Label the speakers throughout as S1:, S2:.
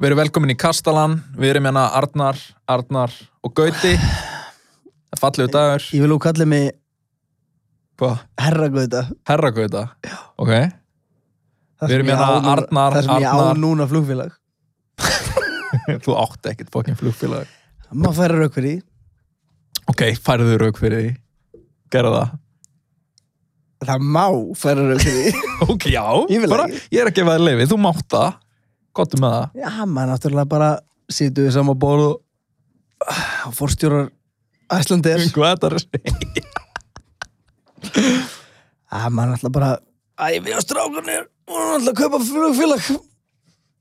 S1: Við erum velkomin í Kastalan, við erum hérna Arnar, Arnar og Gauti. Það er fallegu dagur.
S2: Ég vil þú kalla mig
S1: Hvað?
S2: herragauta.
S1: Herra Gauta? Já. Ok. Við
S2: Það sem
S1: erum
S2: ég
S1: hérna
S2: á núna-
S1: Arnar,
S2: Það sem ég á
S1: Arnar.
S2: núna flugfélag.
S1: Þú átti ekkert fokkin flugfélag.
S2: Maður færa rauk fyrir því.
S1: Ok, færðu rauk fyrir því. Gerðu það.
S2: Það má færa rauk fyrir því.
S1: Ok, já.
S2: Ég vil
S1: bara,
S2: ekki.
S1: Ég er að gefa þér leifi, þú mátt það. Gottum með það.
S2: Já, maður náttúrulega bara situr við saman bóð og Ah, forstjórar Æslandir.
S1: Hvað þetta er að segja?
S2: Já, maður náttúrulega bara, æ, við á strákunir, maður náttúrulega að kaupa flugfélag.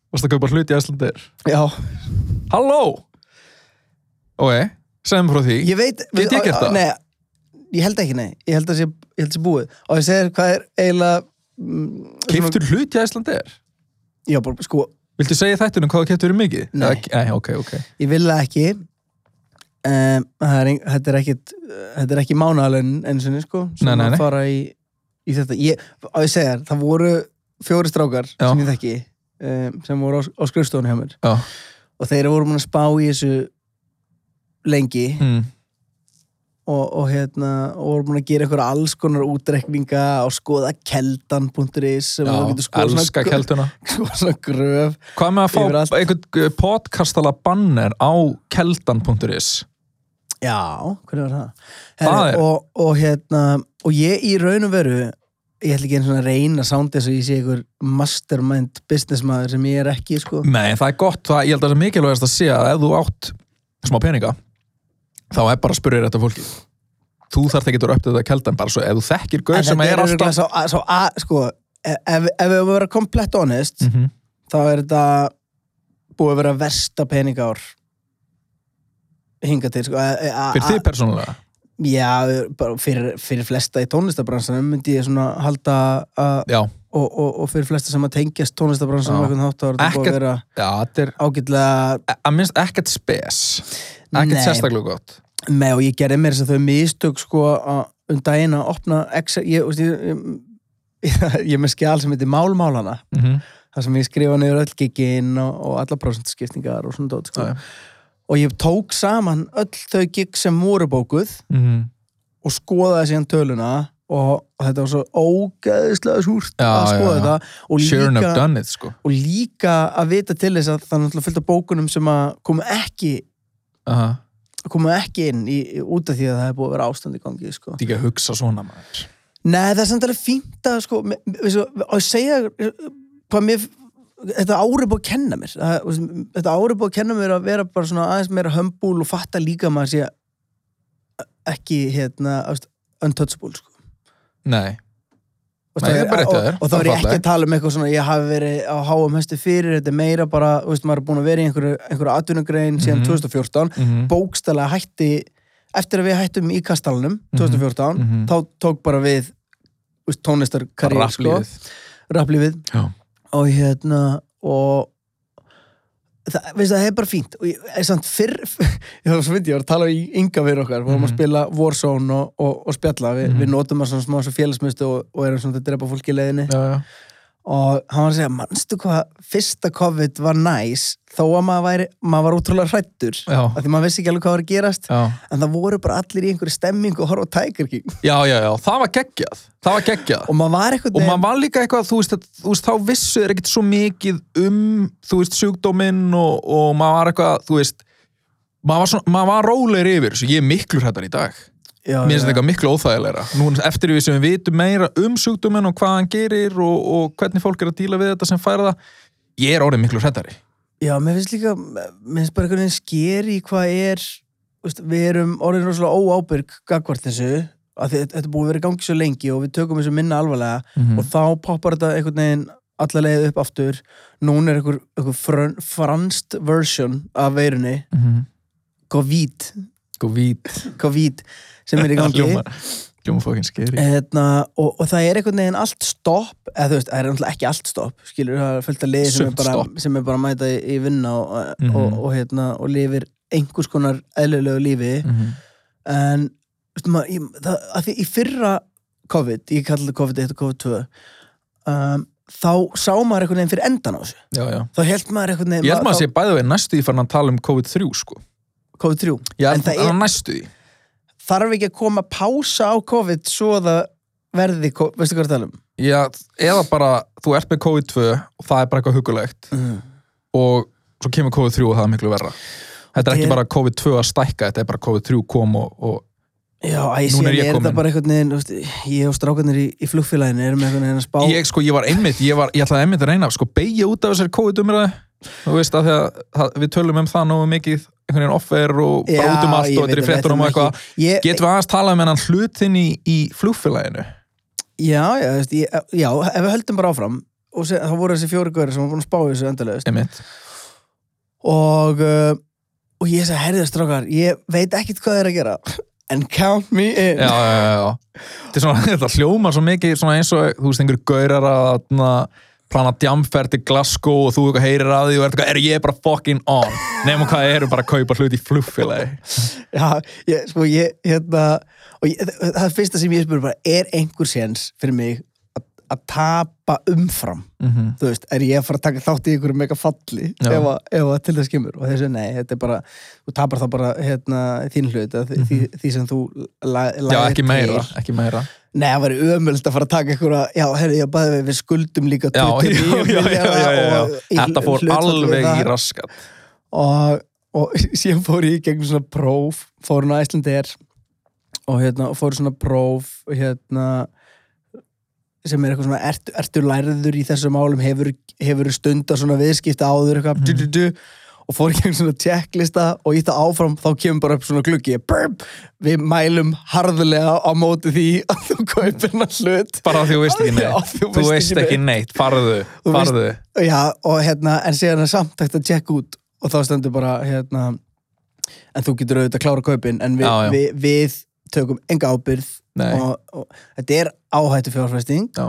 S1: Varst að kaupa hluti í Æslandir?
S2: Já,
S1: Halló! Ok, segjum frá því.
S2: ég veit...
S1: Get ég gert það?
S2: Nei, ég held ekki, nei. Ég held að sé, ég held að sé búið. Og ég segir hvað er eiginlega... mm, svona-
S1: Keiftur hluti í Æslandir?
S2: Já, bara sko,
S1: Viltu segja þættunum hvað þú keiftur í mikið?
S2: Nei.
S1: Eða- Nei, ok, ok.
S2: ég vil það ekki um, það er, ein- þetta er ekkit þetta er ekki mánaðalun eins og niður sko sem
S1: Nei, nei,
S2: að
S1: nei.
S2: fara í, í þetta ég, á ég segja þér, það voru fjóri strákar
S1: Já.
S2: sem ég þekki um, sem voru á, á skrifstofunni hjá mér
S1: Já.
S2: og þeir voru múin að spá í þessu lengi
S1: Mm.
S2: og, og hérna og voru múin að gera eitthvað alls konar útrekninga og skoða keldan.is sem þú getur skoða
S1: elska
S2: gr-
S1: kelduna
S2: skoða svona gröf
S1: Hvað með að fá
S2: Yfir allt.
S1: einhvern podcastala banner á keldan.is
S2: Já, hvernig var það?
S1: Það er-
S2: og, og hérna, og ég í raun og veru, ég ætla ekki einu svona að reyna að sándi þess að ég sé einhver mastermind businessmaður sem ég er ekki, sko.
S1: Nei, það er gott, það, ég held að það er mikilvægast að sé að ef þú átt smá peninga þá er bara að spyrja þetta fólki Þú þarft ekki að upptöðu þetta keldan bara svo ef þú þekkir gauð sem
S2: þetta
S1: er
S2: örugglega
S1: alltaf
S2: Sá, að- sá, að, sko, ef, ef ef við höfum að vera komplett honest,
S1: mm
S2: þá er þetta búið að vera versta peningár hinga til, sko. að- að-
S1: Fyrir þið persónulega
S2: Já, bara fyrir, fyrir flesta í tónlistabransanum myndi ég svona halda að
S1: Já,
S2: og, og, og fyrir flesta sem að tengjast tónlistabransanum
S1: Já.
S2: einhvern hátt að þetta búið
S1: Ekkert-
S2: að vera
S1: já þetta er
S2: ágætlega
S1: að minnst ekkert spes ekkert
S2: Nei.
S1: sérstaklega gott
S2: með og ég gerði mér þess að þau mistök sko að um daginn að opna Excel, ég, veist, ég, ég, ég er með skjál sem heitir Málmálana
S1: mm -hmm.
S2: þar sem ég skrifa niður öll giginn og, og alla prósentaskiptingar og svona dót sko. og ég tók saman öll þau gig sem voru bókuð
S1: mhm.
S2: og skoðaði síðan töluna og þetta var svo ógeðislega súrt
S1: Já,
S2: að
S1: já,
S2: skoða
S1: já.
S2: þetta og
S1: Sure enough
S2: líka,
S1: done it sko
S2: og líka að vita til þess að það er náttúrulega fullt af bókunum sem að komu ekki
S1: Aha.
S2: koma ekki inn í, í, út af því að það er búið að vera ástand í gangi sko.
S1: Þetta er ekki að hugsa svona maður
S2: Nei, það er samt alveg fínt að sko, me- me- veist þú, að segja eh, hvað mér þetta ári búið að kenna mér það, veist, þetta ári búið að kenna mér að vera bara svona aðeins meira hömbúl og fatta líka að maður sé ekki hérna, þú veist, untouchable sko.
S1: Nei,
S2: Þú veist,
S1: Nei,
S2: það
S1: það er bara rétt hjá
S2: og,
S1: þér.
S2: og þá
S1: Það er
S2: er ég ekki
S1: fallegt.
S2: að tala um eitthvað svona ég hafi verið á háum hestu fyrir þetta er meira bara, þú veist, maður er búin að vera í einhverju, einhverju atvinnugrein síðan
S1: Mhm.
S2: 2014
S1: mm
S2: bókstælega hætti eftir að við hættum í kastalunum 2014,
S1: Mhm.
S2: þá tók bara við úst, tónlistarkarriér sko,
S1: rapplíðið
S2: rapplífið
S1: Já.
S2: og hérna og það, veist, það er bara fínt og ég, ég samt fyrr ég var svo myndi, ég var að tala í ynga við okkar vorum
S1: Mhm.
S2: að spila Warzone og, og, og spjalla Vi,
S1: Mhm.
S2: við notum að svona smá svo félagsmyndstu og, og erum svona að drepa fólki í
S1: Já,
S2: leiðinni
S1: já
S2: og hann var að segja, manstu hvað fyrsta COVID var næs þó að maður, væri, maður var útrúlega hrættur
S1: Já.
S2: af því maður vissi ekki alveg hvað var að gerast
S1: Já.
S2: en það voru bara allir í einhverju stemmingu og horfa á Tiger King
S1: já, já, já, það var geggjað Það var geggjað
S2: og maður var eitthvað
S1: Og maður var líka eitthvað, þú veist, að, þú veist þá vissu er ekkert svo mikið um, þú veist, sjúkdóminn og, og maður var eitthvað, þú veist, maður var, svona, maður var rólegir yfir, svo ég er miklu hrættar í dag.
S2: já,
S1: Mér finnst
S2: já.
S1: þetta eitthvað miklu óþægilegra. Nú eftir við sem við vitum meira um sjúkdóminn og hvað hann gerir og, og hvernig fólk er að díla við þetta sem færa það, ég er orðið miklu hrættari.
S2: já, mér finnst líka mér finnst bara einhvern veginn skeri hvað er veist, við erum orðin rosalega óábyrg gagvart þessu að þetta þetta er búið að vera í gangi svo lengi og við tökum þessu minna alvarlega
S1: Mm.
S2: og þá poppar þetta einhvern veginn alla leið upp aftur núna er einhver, einhver fran, franst version af veirunni
S1: -hmm.
S2: COVID
S1: Mhm. sko vít
S2: COVID sem er í gangi
S1: hljóma, hljóma fókin skeri
S2: hérna, og, og það er einhvern veginn allt stopp eða þú veist, það er náttúrulega ekki allt stopp skilur, það er fullt af liði sem er,
S1: Sumt
S2: bara,
S1: stopp.
S2: sem er bara að mæta í, í vinna og,
S1: Mhm.
S2: og, og, hérna, og lifir einhvers konar eðlilegu lífi
S1: mm
S2: en þú veist, maður, ég, það, að því í fyrra COVID, ég kalli þetta COVID-1 og COVID-2 um, þá sá maður einhvern veginn fyrir endan á þessu
S1: já, já.
S2: þá held maður einhvern veginn
S1: ég held maður að
S2: þá-
S1: sé bæði við næstu í farin að tala um COVID-3 sko
S2: COVID-3
S1: ég
S2: En
S1: held
S2: það
S1: að
S2: er-
S1: næstu í
S2: þarf ekki að koma að pása á COVID svo það verði, ko- veistu hvað ég er að tala um?
S1: já, eða bara þú ert með COVID-2 og það er bara eitthvað hugulegt
S2: Mm.
S1: og svo kemur COVID-3 og það er miklu verra þetta er
S2: Ég-
S1: ekki bara COVID-2 að stækka þetta er bara COVID-3 kom og, og
S2: Já,
S1: Núna
S2: æ, síðan
S1: er
S2: er,
S1: ég
S2: það
S1: kominn.
S2: bara einhvern veginn, þú veist, ég og strákarnir í, í flugfélaginu erum einhvern veginn að spá
S1: ég sko, ég var einmitt, ég, var, ég ætlaði einmitt að reyna að sko beigja út af þessari COVID-umræðu þú veist að því að það, við tölum um það nógu mikið einhvern veginn offer og bara út um allt
S2: ég
S1: og þetta er í
S2: veit að við ætlum
S1: fréttunum og
S2: ekki-
S1: eitthvað
S2: Ég-
S1: getum við aðeins talað um hennan hlutin í, í flugfélaginu
S2: Já, já, þú veist, ég, já, ef við höldum bara áfram og se, þá voru þessi fjóri góður sem var búin að spá í þessu endalega
S1: einmitt,
S2: og, uh, og ég sagði, herðið strákar, ég veit ekkit hvað þeir að gera and count me in
S1: já, já, já, já. Þetta, er svona, þetta hljómar svo mikið svona eins og þú veist einhverju gaurar að na, plana djamferð til Glasgow og þú eitthvað heyrir að því og ert eitthvað, er ég bara fucking on nefnum hvað það eru bara að kaupa hlut í flugfélagi
S2: Já, ég, sko, ég, hérna, og ég, það það fyrsta sem ég spurði bara, er einhver séns fyrir mig að- að tapa umfram?
S1: mm -hmm.
S2: Þú veist, er ég að fara að taka þátt í einhverju mega falli ef
S1: Já.
S2: að, ef að til þess kemur? Og þessu, nei, þetta er bara, þú tapar þá bara, hérna, þín hlut, mm því, því sem þú lagði
S1: Mhm. já, ekki meira, ekki meira
S2: Nei, það væri ömöld að fara að taka einhverja, já, herri, ég bæði við, við skuldum líka
S1: já, já,
S2: 29
S1: já, já,
S2: milljarða
S1: já, já.
S2: og í
S1: þetta fór
S2: hlutfalli við
S1: alveg
S2: það
S1: í raskat
S2: og, og síðan fór ég í gegnum svona próf, fór hún að Íslandir og hérna, og fór svona próf hérna sem er eitthvað svona, ertu, ertu lærður í þessum málum, hefur, hefur stunda svona viðskipta áður eitthvað du, du, du, og fór í gegnum svona checklista og í það áfram, þá kemur bara upp svona gluggi burp, við mælum harðlega á móti því að þú kaupir hennar hlut
S1: bara því þú veist ekki
S2: Já,
S1: neitt
S2: þú
S1: þú
S2: veist
S1: veist
S2: ekki
S1: ekki neitt, farðu,
S2: Þú veist-
S1: farðu
S2: Já, og hérna, en síðan er samt hægt að tjekka út og þá stendur bara, hérna en þú getur auðvitað að klára kaupin en við,
S1: Já, já.
S2: við, við tökum enga ábyrð
S1: Nei.
S2: og, og þetta er áhættu fjárfæsting
S1: já,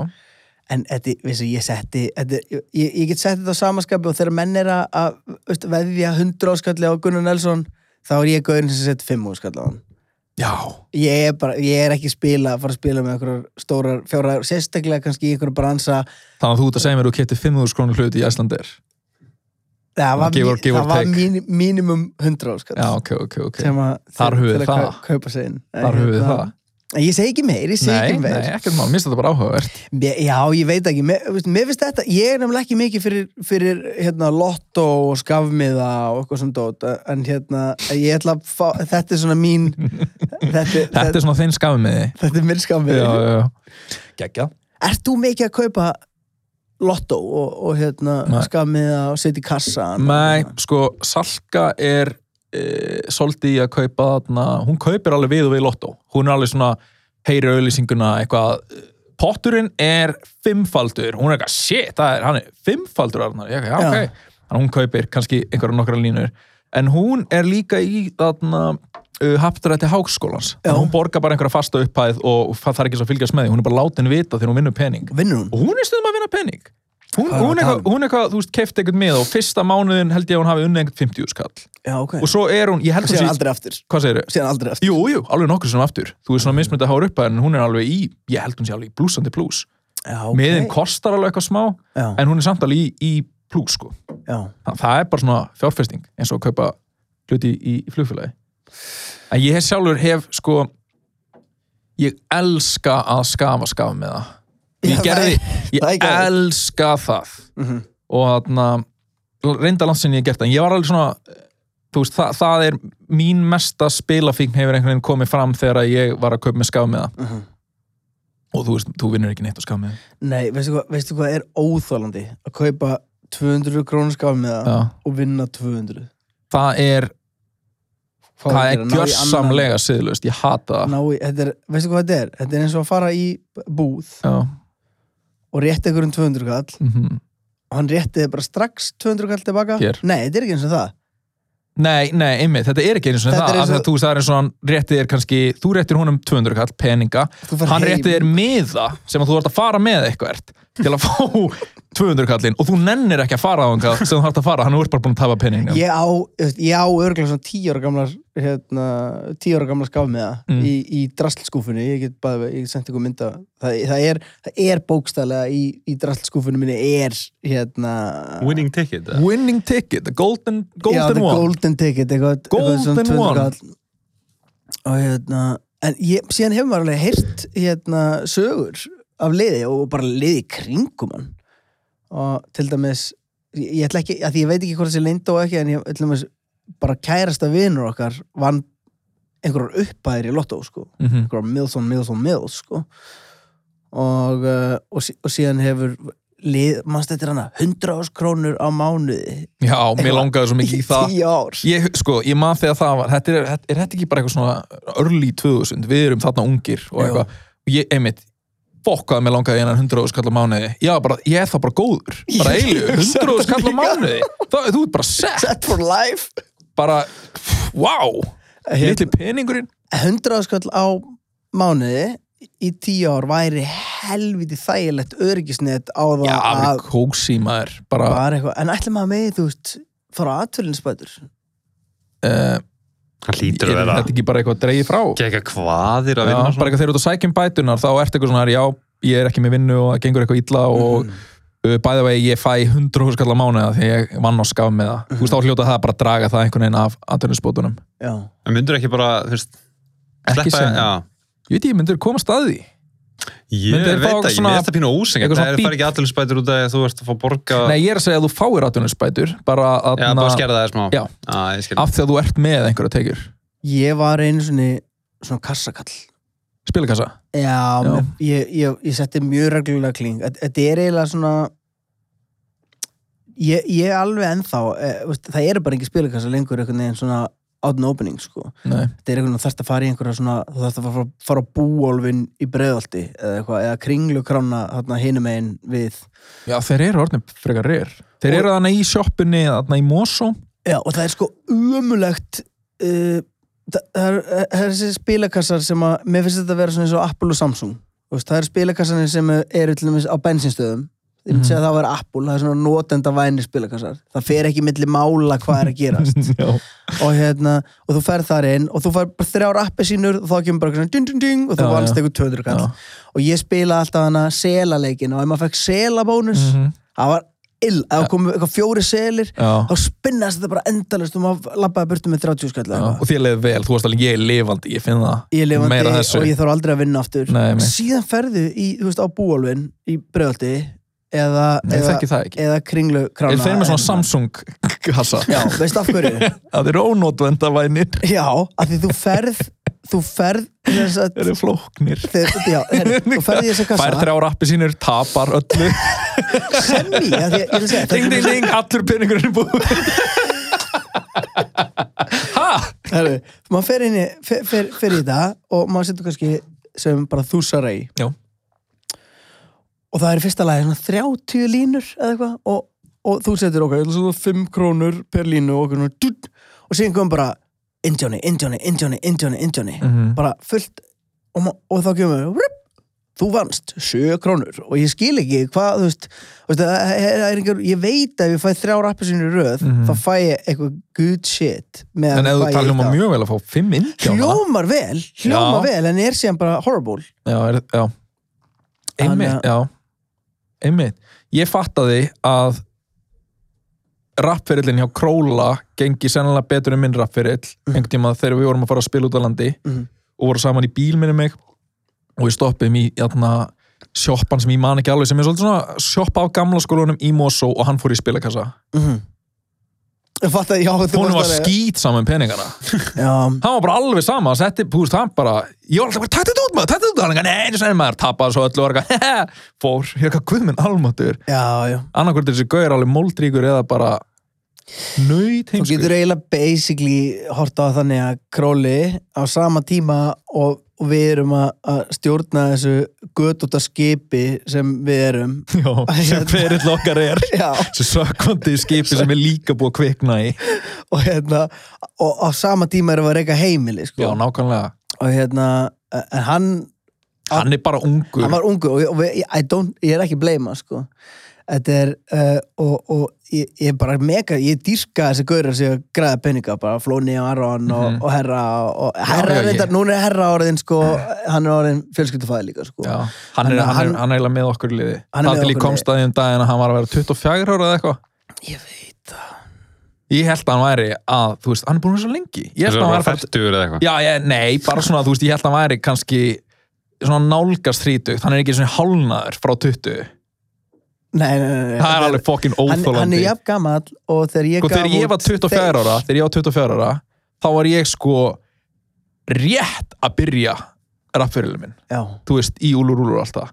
S2: en þetta, vissu, ég setti þetta, ég, ég get setti þetta á samaskapi og þegar menn er að, að veist, veðja 100 áskalli á Gunnar Nelson þá er ég gauðin sem setti 5 áskalli á hann
S1: já,
S2: ég er, bara, ég er ekki að spila að fara að spila með einhverjar stórar fjórar sérstaklega kannski í einhverju bransa
S1: þannig að þú ert að segja mér að þú kettir 5.000 krónur hlut í Æslandir
S2: það var,
S1: Give or-
S2: mí-
S1: give or
S2: það var
S1: take.
S2: mín, mínimum 100 áskall
S1: já, ok, ok, ok
S2: sem að
S1: Þar
S2: til-
S1: höfum við
S2: til að
S1: það.
S2: kau- kaupa sig inn En
S1: þar höfum við
S2: hérna-
S1: það
S2: En ég segi ekki meir, ég segi
S1: nei,
S2: ekki meir
S1: nei, ekkert mál, minnst þetta bara áhugavert
S2: Mér- já, ég veit ekki, mér, veist, mér finnst þetta ég er nefnilega ekki mikið fyrir, fyrir hérna, lotto og skafmiða og eitthvað sem dót, en hérna ég ætla að fá, þetta er svona mín þetta,
S1: þetta er svona þinn skafið með því
S2: þetta er minn
S1: já,
S2: skafmiði
S1: já, já, geggja
S2: Ert þú mikið að kaupa lotto og, og hérna,
S1: Nei.
S2: skafmiða og setja í kassan
S1: nei, sko, Salka er e, svolítið í að kaupa þarna, hún kaupir alveg við og við lotto hún er alveg svona, heyri auðlýsinguna eitthvað, eh, potturinn er fimmfaldur, hún er eitthvað, shit það er, hann er fimmfaldur, Arnar." ég eitthvað, já,
S2: Já.
S1: ok þannig að hún kaupir kannski einhverja nokkra línur en hún er líka í þarna uh, haptarætti háskólans
S2: Já.
S1: Þannig að hún borgar bara einhverja fasta upphæð og það er ekki svo að fylgjast með því, hún er bara látin vita þegar hún vinnur pening
S2: Vinnur hún?
S1: og hún er stundum að vinna pening hún,
S2: Hvað er
S1: hún,
S2: að tala um?
S1: eitthvað, hún eitthvað, þú veist, kefti eitthvað með og fyrsta mánuðin held ég að hún hafi unnið eitthvað 50 skall
S2: Já, ok
S1: og svo er hún, ég held hún
S2: Síðan
S1: sé,
S2: aldrei aftur
S1: hvað segir þau?
S2: Síðan aldrei aftur
S1: Jú, jú, alveg nokkur sem aftur þú veist svona mismyndið að hára upp en hún er alveg í, ég held hún sé alveg í blúsandi blús
S2: Já,
S1: okay.
S2: ok
S1: miðin kostar alveg eitthvað smá
S2: Já,
S1: en hún er samt alveg í, í blús sko
S2: já
S1: Þa, það er bara svona fjárfesting eins og að kaupa hluti í, í flugfélagi en ég hef sjálfur hef sko ég elska að skafa skafa með það
S2: Já,
S1: ég
S2: það
S1: gerði, ég
S2: það er geðveikt.
S1: elska það
S2: Mhm.
S1: og þarna reynda landsinni ég hef gert það, en ég var alveg svona þú veist, það, það er mín mesta spilafíkn hefur einhvern veginn komið fram þegar að ég var að kaupa með skafa með það
S2: Mhm.
S1: og þú veist, þú vinnur ekki neitt á skafa með
S2: Nei, veistu hvað, veistu hvað er óþólandi að kaupa 200 krónu skafmiða
S1: það Já.
S2: og vinna 200
S1: það er,
S2: Hvað
S1: það
S2: á að
S1: er
S2: gera? Ná í
S1: gjörsamlega siðlust, ég hata
S2: annan-
S1: það
S2: ná í, þetta er, Veistu hvað þetta er? Þetta er eins og að fara í búð
S1: Já.
S2: og rétta ykkur um 200 kall
S1: mhm
S2: og hann rétti þér bara strax 200 kall tilbaka
S1: Hér.
S2: Nei, þetta er ekki eins og það
S1: Nei, nei, einmitt, þetta er ekki eins og
S2: Þetta
S1: það,
S2: er eins
S1: af því
S2: og-
S1: að þú sagðir eins og hann réttið er kannski, þú réttir húnum 200 kall peninga,
S2: Þú ferð
S1: hann
S2: heim.
S1: réttið er miða sem að þú ert að fara með eitthvað til að fá 200 kallinn og þú nennir ekki að fara á hann sem þú ert að fara, hann er bara búin að tapa peningum
S2: Ég á, þú veist, ég á örgulega svona tíu ára gamlar hérna, tíu ára gamlar skaf með það
S1: Mm.
S2: í, í drastlskúfunni, ég get bara ég sent ykkur mynda, það, það er það er bókstælega í, í drastlskúfunni minni er hérna
S3: Winning ticket eða?
S1: Winning ticket, the golden,
S2: já,
S1: golden
S2: the
S1: one
S2: golden ticket eitthvað, eitthvað svona
S1: Golden
S2: 200
S1: one.
S2: kall. og hérna en ég, síðan hefur maður alveg heyrt hérna sögur af liði og bara liði í kringum hann og til dæmis ég, ég ætla ekki, að því ég veit ekki hvort þessi leynda og ekki en ég ætla dæmis bara kærasta vinur okkar vann einhverjar uppæðir í lottó sko
S1: Mhm.
S2: einhverjar Mills on Mills on Mills sko. og, uh, og, sí- og síðan hefur lið, mannst þetta er hana 100 krónur á mánuði
S1: Já, mér langaði svo mikið í það
S2: tíu ár
S1: Ég, sko, ég man þegar það var þetta er, þetta er þetta ekki bara eitthvað svona early 2000, við erum þarna ungir og
S2: Jú.
S1: eitthvað, og ég, einmitt fokkaði mig langaði einan 100 skall á mánuði ég, var bara, ég er það bara góður, bara
S2: Ég
S1: eilu
S2: hugsaði
S1: 100 skall á
S2: líka.
S1: mánuði, það, þú ert bara sett
S2: set for life
S1: bara, pff, wow
S2: Hérna.
S1: litli peningurinn
S2: 100 skall á mánuði í tíu ár væri helviti þægilegt örgisnet á það
S1: já,
S2: að
S1: alveg kósi maður bara,
S2: bara eitthvað, en ætla maður með þú veist fara aðtölinsbætur
S1: uh,
S3: Hann
S1: er
S3: lítur að vera
S1: þetta ekki bara eitthvað að dreyja frá já,
S3: Gekka hvaðir
S1: bara
S3: að vinna svona?
S1: eitthvað þegar þú ert að sækja um bætunar þá ert eitthvað svona, já, ég er ekki með vinnu og það gengur eitthvað illa
S2: Mhm.
S1: og bæða vegi ég fæ 100 húskall á mánuða því ég vann á skaf með það þú veist þá hljóta það bara að draga það einhvern veginn af atvinnisbótunum
S2: já,
S3: En myndur ekki bara, þú veist
S1: ekki
S3: sleppa-
S1: sem,
S3: já.
S1: ég veit ég myndur koma staði
S3: Ég
S1: Myndu þeir
S3: veit
S1: fá
S3: ekki,
S1: svona-
S3: mér er þetta pínu óseng
S1: eitthvað
S3: Það
S1: svona
S3: er fara ekki aðtölusbætur út af því að þú ert að fá borga
S1: nei ég er að segja að þú fáir atvinnisbætur bara,
S3: Já,
S1: atna,
S3: bara skerða það smá
S1: Já.
S3: ah, ég skil.
S1: af því að þú ert með einhverja tekjur
S2: ég var einu svona, svona kassakall
S1: spilakassa
S2: Já,
S1: Já.
S2: Mér, ég, ég, ég setti mjög reglulega kling Þetta- Þetta er eiginlega svona Ég, ég alveg ennþá e, veist, Það eru bara ekki spilakassa lengur einhvern veginn svona out and opening sko.
S1: nei,
S2: Þetta er einhvern veginn þarft að fara í einhverja svona þú þarft að fara, fara á búólfin í breiðalti eða, eitthvað, eða kringlukrána þarna hinum einn við
S1: já þeir eru orðin frekar reyr þeir
S2: Og-
S1: eru þannig í sjoppunni, þannig í Mosó
S2: Já, og það er sko umulegt uh, það, það er, eh, það er þessi spilakassar sem að, mér finnst þetta að vera svona eins og Apple og Samsung Þú veist, það eru spilakassarnir sem eru til dæmis á bensinstöðum ég myndi
S1: Mhm.
S2: segja að það var Apple, það er svona notenda vænir spilakassar, það fer ekki milli mála hvað er að gerast
S1: já,
S2: og, hérna, og þú ferð þar inn og þú fær bara þrjár appi sínur og þá kemur bara eitthvað svona ding, ding, ding, og þú
S1: Já,
S2: vannst
S1: já.
S2: eitthvað 200
S1: já.
S2: kall og ég spila alltaf hana selaleikin og ef maður fekk selabónus
S1: Mhm.
S2: það var ill, ef það komu eitthvað fjóri selir
S1: já.
S2: þá spinnast þetta bara endalist og maður labbaði burtu með 30 skall eða
S1: Já.
S2: eitthvað.
S1: og þér leið vel, þú varst alveg ég er lifandi ég finn það,
S2: ég er lifandi
S1: meira þessu
S2: og ég þarf aldrei að vinna aftur
S1: Nei, einmitt.
S2: síðan ferðu í, þú veist, á búalvin í bregðaldi eða,
S1: nei, ég
S2: eða,
S1: þekki það ekki
S2: eða kringlu krána
S1: Þeir fyrir með svona Samsung kassa
S2: já, veist af hverju?
S1: Það eru ónótvendavænir
S2: já, af því þú ferð þú ferð þess
S1: Þeir
S2: að
S1: eru flóknir
S2: Þeir, já, her, þú ferði í þessa
S1: Fær
S2: kassa
S1: þrjá rappi sínur, tapar öllu
S2: Senni, já, því, ég, ég, segja,
S1: Ding,
S2: þetta,
S1: ding, ding, allur peningurinn er búið
S2: herru, maður fer inn í fer, fer, fer í það og maður setur kannski sem bara þúsara í
S1: Já,
S2: og það er í fyrsta lagi svona 30 línur eða eitthvað og, og þú setur okkar, ég ætla að setja 5 krónur per línu og okkur dutt, og síðan kom bara Indjóni, Indjóni, Indjóni, Indjóni, Indjóni
S1: Mhm.
S2: bara fullt og, ma- og þá kemur rup, þú vannst 7 krónur og ég skil ekki hvað þú veist, þú veist það er, það er einhver, ég veit að ef ég fæ þrjá rappisinu röð
S1: Mhm.
S2: þá fæ ég eitthvað good shit
S1: en ef þú talar um að mjög vel að fá fimm indjána
S2: hljómar vel, hljómar
S1: Já.
S2: vel en er síðan bara horrible
S1: Já, er, já
S2: Þannig
S1: Einmitt, já Einmitt, ég fattaði að rappferillin hjá Króla gengi sennilega betur en minn rappferill einhvern tíma þegar við vorum að fara að spila út á landi
S2: Mhm.
S1: og voru saman í bíl minni mig og við stoppum í jatna, sjoppan sem ég man ekki alveg sem er svolítið svona sjoppa af gamla skólanum í Mosó og hann fór í spilakassa
S2: mm -hmm. ég fatt að já, þú
S1: hún var
S2: varst alveg-
S1: skýt saman peningana hann
S2: já,
S1: var bara alveg sama hann setti, þú veist, hann bara ég var alltaf bara, tætti þetta út maður, tætti þetta út hann er neina, sem maður, tappaði svo öllu og var eitthvað, fór, ég er eitthvað guðminn almatur
S2: já, já
S1: annarkvort er þessi gauður alveg móldríkur eða bara Nöyt
S2: Þú
S1: heimsku.
S2: getur eiginlega basically horta á þannig að króli á sama tíma og, og við erum að, að stjórna þessu götúta skipi sem við erum. hérna-
S1: Já, sem ferill okkar er.
S2: Já,
S1: Þessu sökkvandi skipi sem er líka búið að kvikna í.
S2: og hérna, og á sama tíma erum við að reyka heimili, sko.
S1: Já, nákvæmlega.
S2: og hérna, en hann,
S1: Hann er bara ungur.
S2: hann var ungu og, ég- og ég, I don't, ég er ekki að bleima, sko. Þetta er, uh, og, og ég, ég er bara mega, ég dýrka þessi gaurar sem ég græða peninga, bara Flóni og Aron og,
S1: Mhm.
S2: og Herra og Herra,
S1: já,
S2: já,
S1: ég-
S2: reyndar, núna er Herra orðin, sko, hann er orðin fjölskyldufæði líka, sko.
S1: Já, hann er, hann,
S2: Hann-
S1: er,
S2: hann-
S1: hann er eiginlega með okkur í liði.
S2: Hann er
S1: Það
S2: með
S1: til ég
S2: okkur í
S1: komst að því um daginn að hann var að vera 24 ára eða eitthvað.
S2: Ég veit það.
S1: Ég held að hann væri að, þú veist, hann er búin að vera svo lengi. Ég held
S3: Þessu
S1: að hann
S3: var
S1: væri bara...
S3: fættur eða eitthvað.
S1: Já, ég, nei, bara svona, þú veist, ég held að hann væri kannski svona nálgast 30, hann er ekki svona hálnaður frá 20.
S2: Nei, nei, nei. nei.
S1: Það er alveg fokkin
S2: Hann, hann er
S1: óþólandi.
S2: jafn gamall og þegar ég
S1: Sko, þegar ég
S2: út
S1: var 24 ára, þegar ég var 24 ára, þá var ég sko rétt að byrja rappfyrirlið minn.
S2: Já,
S1: þú veist, í úlur úlur alltaf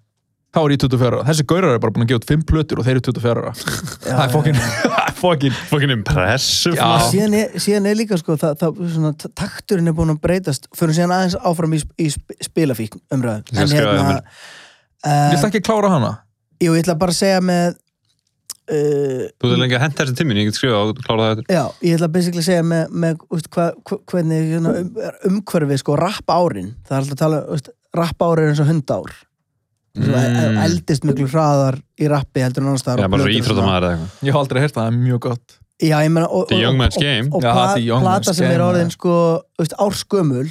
S1: þá er ég 24 ára, þessi gaurar er bara búin að gefa út 5 plötur og þeir eru 24 ára það er fokkin, það er fokkin
S3: Fokkin impressu.
S1: Já.
S3: maður.
S2: síðan er, síðan er líka sko það, það, svona, ta- takturinn er búin að breytast fyrir síðan aðeins áfram í, sp- í sp- spilafíkn hérna, umræðu
S3: Ég skal skrifa það
S2: uh,
S1: vilt ekki klára hana?
S2: Jú, ég ætla bara að segja með uh,
S3: Þú ert lengi að henda þessi tímin, ég get skrifað og klára það eftir.
S2: Já, ég ætla basically að segja með, með úst, hva, hva- hvernig svona, um, umhverfið sko, rapp árin það er alltaf að tala, úst, rapp árin er eins og hundár mm.
S3: Mm.
S2: eldist miklu hraðar í rappi heldur en annars
S3: Já,
S2: staðar og
S3: bara svo
S2: plötur og svona.
S3: íþrótamaður eða eitthvað.
S1: ég hef aldrei heyrt það, það er mjög gott
S2: Já, ég meina og,
S3: The
S2: og-
S3: Young Man's
S2: og-
S3: Game.
S2: Og, og
S1: Já,
S2: pla,
S1: The Young
S2: plata
S1: Man's
S2: sem er
S1: Game,
S2: orðin
S1: ja.
S2: sko, veist, árskömmul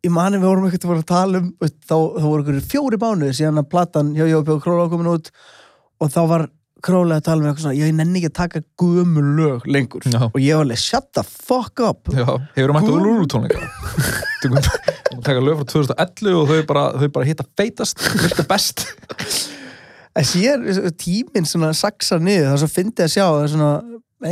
S2: Ég mani við vorum ekkert að voru að tala um veist, þá, þá voru ykkur fjóri mánuði síðan að platan hjá Jópi og Króla komin út og þá var Króla að tala um eitthvað svona "Já, ég nenni ekki að taka gömul lög lengur
S1: Já.
S2: og ég var alveg shut the fuck up
S1: Já, hefur mættu
S2: Gúl.
S1: úlur úlur tónleika Tökum- taka lög frá 2011 og þau bara, þau bara hitta feitast virka best
S2: En síðan þessi tíminn svona saksar niður það er svo fyndið að sjá það er svona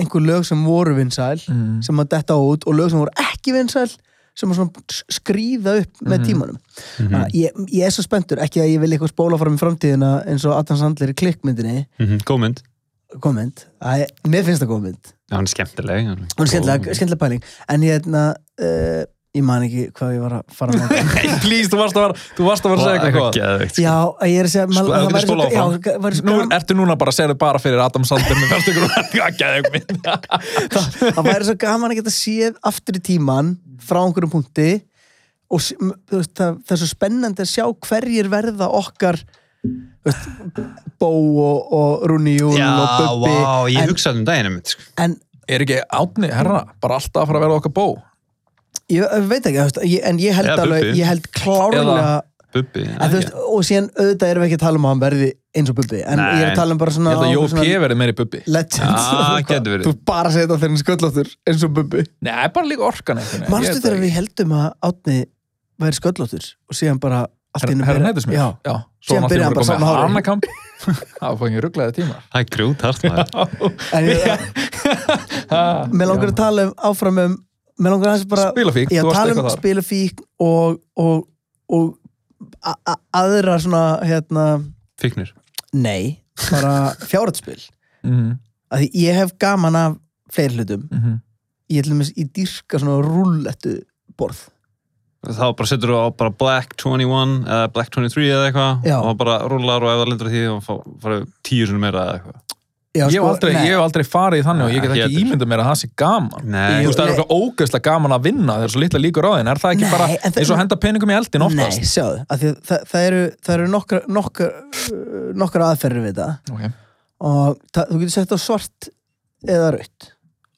S2: einhver lög sem voru vinsæl
S1: Mm.
S2: sem að detta út og lög sem voru ekki vinsæl sem að svona s- skríða upp með tímanum mm ég, ég er svo spenntur, ekki að ég vil eitthvað spóla fram í framtíðina eins og Adam Sandler í klikkmyndinni
S3: Mhm, Góð mynd.
S2: komment, Æ, mér finnst það góðmynd
S3: Já, hann er skemmtileg. Hann
S2: og skemmtilega, skemmtilega pæling en hérna, uh, ég man ekki hvað ég var að fara með þetta.
S1: hey, please, þú varst að vera, þú varst að vera að segja eitthvað gott.
S3: Geðveikt.
S2: já, ég er að segja
S1: Sko, ef
S2: það
S1: þú
S2: væri
S1: getur
S2: svo,
S1: spólað
S2: já,
S1: áfram.
S2: væri svo
S1: Nú
S2: gaman-
S1: ertu núna bara að segja þau bara fyrir Adam Sander með fyrstu ykkur að geða ykkur mynd
S2: það væri svo gaman að geta séð aftur í tíman frá einhverjum punkti og s- m- þú veist, það, það er svo spennandi að sjá hverjir verða okkar þú veist, Bó og, og Rúni Jún
S3: Já,
S2: og Bubbi
S3: vá, ég
S2: en,
S3: hugsaði um daginn einmitt, sko.
S2: en
S1: Er ekki átni, herra, bara alltaf að fara að vera okkar bó
S2: ég, ég veit ekki þú veist, ég, en ég held,
S3: Eða
S2: alveg,
S3: Bubbi.
S2: ég held klárlega
S1: Eða-
S3: Bubbi.
S2: en, þú veist, og síðan auðvitað erum við ekki að tala um að hann verði eins og Bubbi en
S3: Nei.
S2: ég er að tala um bara
S1: Ég
S2: svona,
S1: held að Jói
S2: svona
S1: P. verði meiri bubbi
S2: legend
S1: Ah,
S3: Já, getur verið.
S2: þú bara segir þetta þegar hann sköllóttur eins og Bubbi
S1: Nei, bara líka orkan einhvern veginn. Ég
S2: Manstu
S1: veit það
S2: þegar
S1: ekki.
S2: við heldum að Átni væri sköllóttur og síðan bara allt í einu
S1: Herra- Herra
S2: byrja-
S1: Neytismir?
S2: Já,
S1: Já.
S2: Síðan
S1: Svo
S2: byrjaði
S1: hann
S2: hann bara
S1: bara
S2: saman
S1: með
S2: hári.
S1: Hanakamp. Það var fengið rugglaði tíma.
S3: Það er grút hart maður.
S2: en ég, mér langar að tala um áfram um, mér langar aðeins bara
S1: Spilafíkn,
S2: já,
S1: þú varst
S2: tala um
S1: eitthvað þar.
S2: spilafík og, og, og a, a, aðra svona hérna,
S3: Fíknir.
S2: nei bara fjárhætspil
S1: Mhm,
S2: að því ég hef gaman af fleiri hlutum,
S1: mhm.
S2: ég ætlum að ég dýrka svona rúllettu borð
S3: Þá bara setur þú á bara Black 21 eða Black 23 eða eitthvað
S2: Já.
S3: og bara rúlar og ef það lindur því og fá- fara tíu sinni meira eða eitthvað.
S2: já, sko,
S1: Ég hef aldrei,
S2: nei.
S1: ég hef aldrei farið í þannig og ég get
S3: Ekki
S1: ekki
S3: heldur.
S1: ímyndað mér að það sé gaman.
S3: Nei.
S1: Þú
S2: Jú.
S1: veist, það er eitthvað ógeðslega gaman að vinna þegar svo litla líkur á þeim. Er það ekki
S2: Nei,
S1: bara
S2: en það-
S1: eins og að henda peningum í eldin
S2: Nei,
S1: oftast?
S2: sjáðu, af því að það, það eru, það eru nokkra, nokkra, uh, nokkra aðferðir við þetta
S1: Ok.
S2: og það, þú getur sett á svart eða raut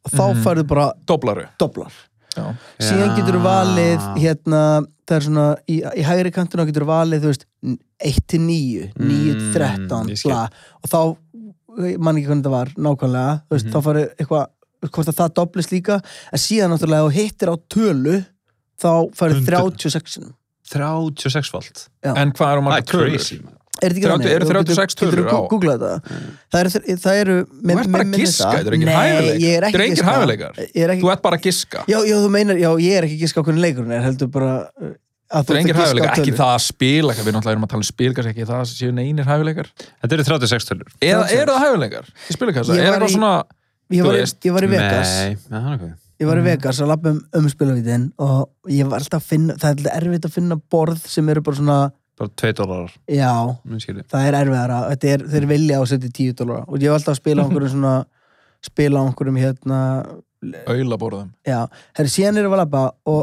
S2: og þá
S1: Mhm.
S2: færðu bara
S1: Doblaru.
S2: doblar
S1: Já.
S2: síðan
S3: Já.
S2: getur þú valið hérna, það er svona, í, í hægri kantuna getur þú valið, þú veist, 1 til 9 9 til
S3: Mm,
S2: 13,
S3: ég skil.
S2: bla og þá, ég man ekki hvernig það var nákvæmlega, þú veist,
S3: Mhm.
S2: þá farið eitthvað hvort að það doblist líka en síðan náttúrulega ef þú hittir á tölu þá farið
S3: Undir.
S2: 36 sinnum.
S3: 36 volt.
S1: En hvað eru
S3: Það er
S1: marga tölur?
S3: crazy maður.
S2: Er þetta ekki
S1: 30
S2: þannig?
S1: eru 36
S2: Getur-
S1: tölur
S2: getur
S1: á-
S2: þú googlað þetta? Það eru, það eru
S1: Þú ert bara að giska, þetta eru engir hæfileikar.
S2: Nei, ég er
S1: Þetta
S2: ekki
S1: eru engir
S2: giska.
S1: hæfileikar.
S2: Ég er ekki,
S1: Þú ert bara að giska.
S2: já, já, þú meinar, já, ég er ekki að giska á hvernig leikurinn er, heldur bara uh,
S1: Þú
S2: að þú
S1: er engir
S2: ert að giska á
S1: hæfileikar, ekki
S2: tölur.
S1: það að spila, við náttúrulega erum að tala um spil, kannski ekki það séu neinir hæfileikar.
S3: Þetta eru 36 tölur.
S1: Eða
S2: Fransins.
S1: eru það hæfileikar í spilakassa?
S2: Ég
S1: Er
S2: var
S1: eitthvað
S2: í-
S1: svona
S2: ég var,
S1: veist,
S2: í- ég var í Vegas
S3: Nei, ja, það er okkur.
S2: ég var í Vegas að lappa um, um spilavítin og ég var alltaf að finna það er alltaf erfitt að finna borð sem eru bara svona
S3: Bara 2 dólarar,
S2: já,
S3: minn skilji.
S2: það er erfiðara þetta er, þeir vilja á setja 10 dólar og ég var alltaf að spila á einhverjum svona spila á einhverjum hérna
S1: Aulaborðum.
S2: já, herri, síðan erum við að lappa og,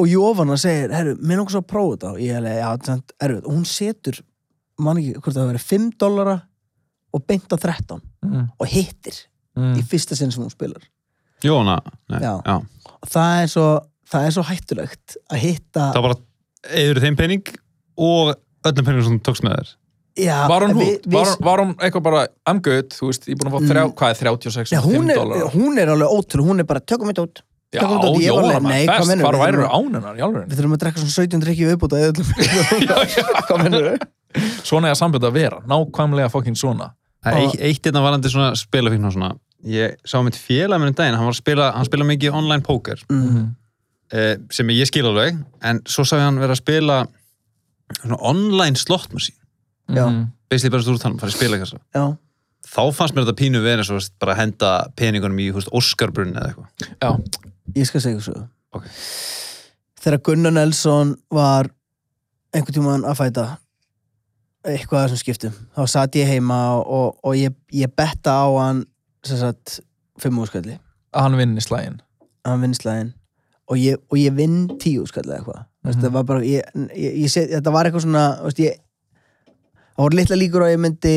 S2: og Jófanna segir, herru, minn okkur svo að prófa þetta og ég hefði, já, þetta er samt erfitt og hún setur, man ekki hvort það verið 5 dólara og beint á 13
S1: Mm.
S2: og hittir í
S1: Mm.
S2: fyrsta sinn sem hún spilar
S3: Jóna, nei, já.
S2: Já. og það er svo, það er svo hættulegt að hitta
S3: Það var bara, eður þeim pening og öllum peningum sem þú tókst með þér.
S2: já,
S1: Var hún
S2: en við-
S1: hút?
S2: við- Mm.
S1: Var, hún- var hún eitthvað bara, I'm good, þú veist, ég er búin að fá þrjá, hvað er 36
S2: Já,
S1: og
S2: hún
S1: 5
S2: er,
S1: dólarar?
S2: hún er alveg ótrú, hún er bara tökum þetta út
S1: Já,
S2: tökum þetta út, ég var alveg,
S1: Jóhanna,
S2: nei, hvað
S1: best,
S2: meinarðu?
S1: hvar
S2: Við
S1: væru
S2: þurfum-
S1: ánennar í alveg?
S2: Við þurfum að drekka svona 17 drikki viðbúta í öllum Hvað mennur þau?
S1: Svona er sambjönd að vera, nákvæmlega fokkin svona.
S3: Það er
S2: Og-
S3: eitt- eitt hérna varandi svona spilafíkn og svona. Ég sá mitt félag minn um daginn, hann var að spila, hann spila mikið online póker.
S1: Mm.
S2: Mhm,
S3: eh, sem ég skil alveg en svo sá ég hann vera að spila svona online slot machine
S2: Já.
S1: Mhm.
S3: basically bara stúrtanum, fara að spila kassa
S2: Já,
S3: þá fannst mér þetta pínu verið eins og veist, bara að henda peningunum í húst Óskarbrunni eða eitthvað
S1: Já,
S2: ég skal segja þessu
S3: Ok.
S2: Þegar Gunnar Nelson var einhvern tímann að fæta eitthvað af þessum skiptum þá satt ég heima og, og ég, ég betta á hann sem sagt fimm úrskalli,
S1: að hann vinni slægin.
S2: hann vinn slæðin og ég, og ég vinn tíu úrskalli eða eitthvað mm
S1: Mhm.
S2: -hmm. var bara, ég, ég, ég set, þetta var eitthvað svona þú veist, ég, það voru litla líkur að ég myndi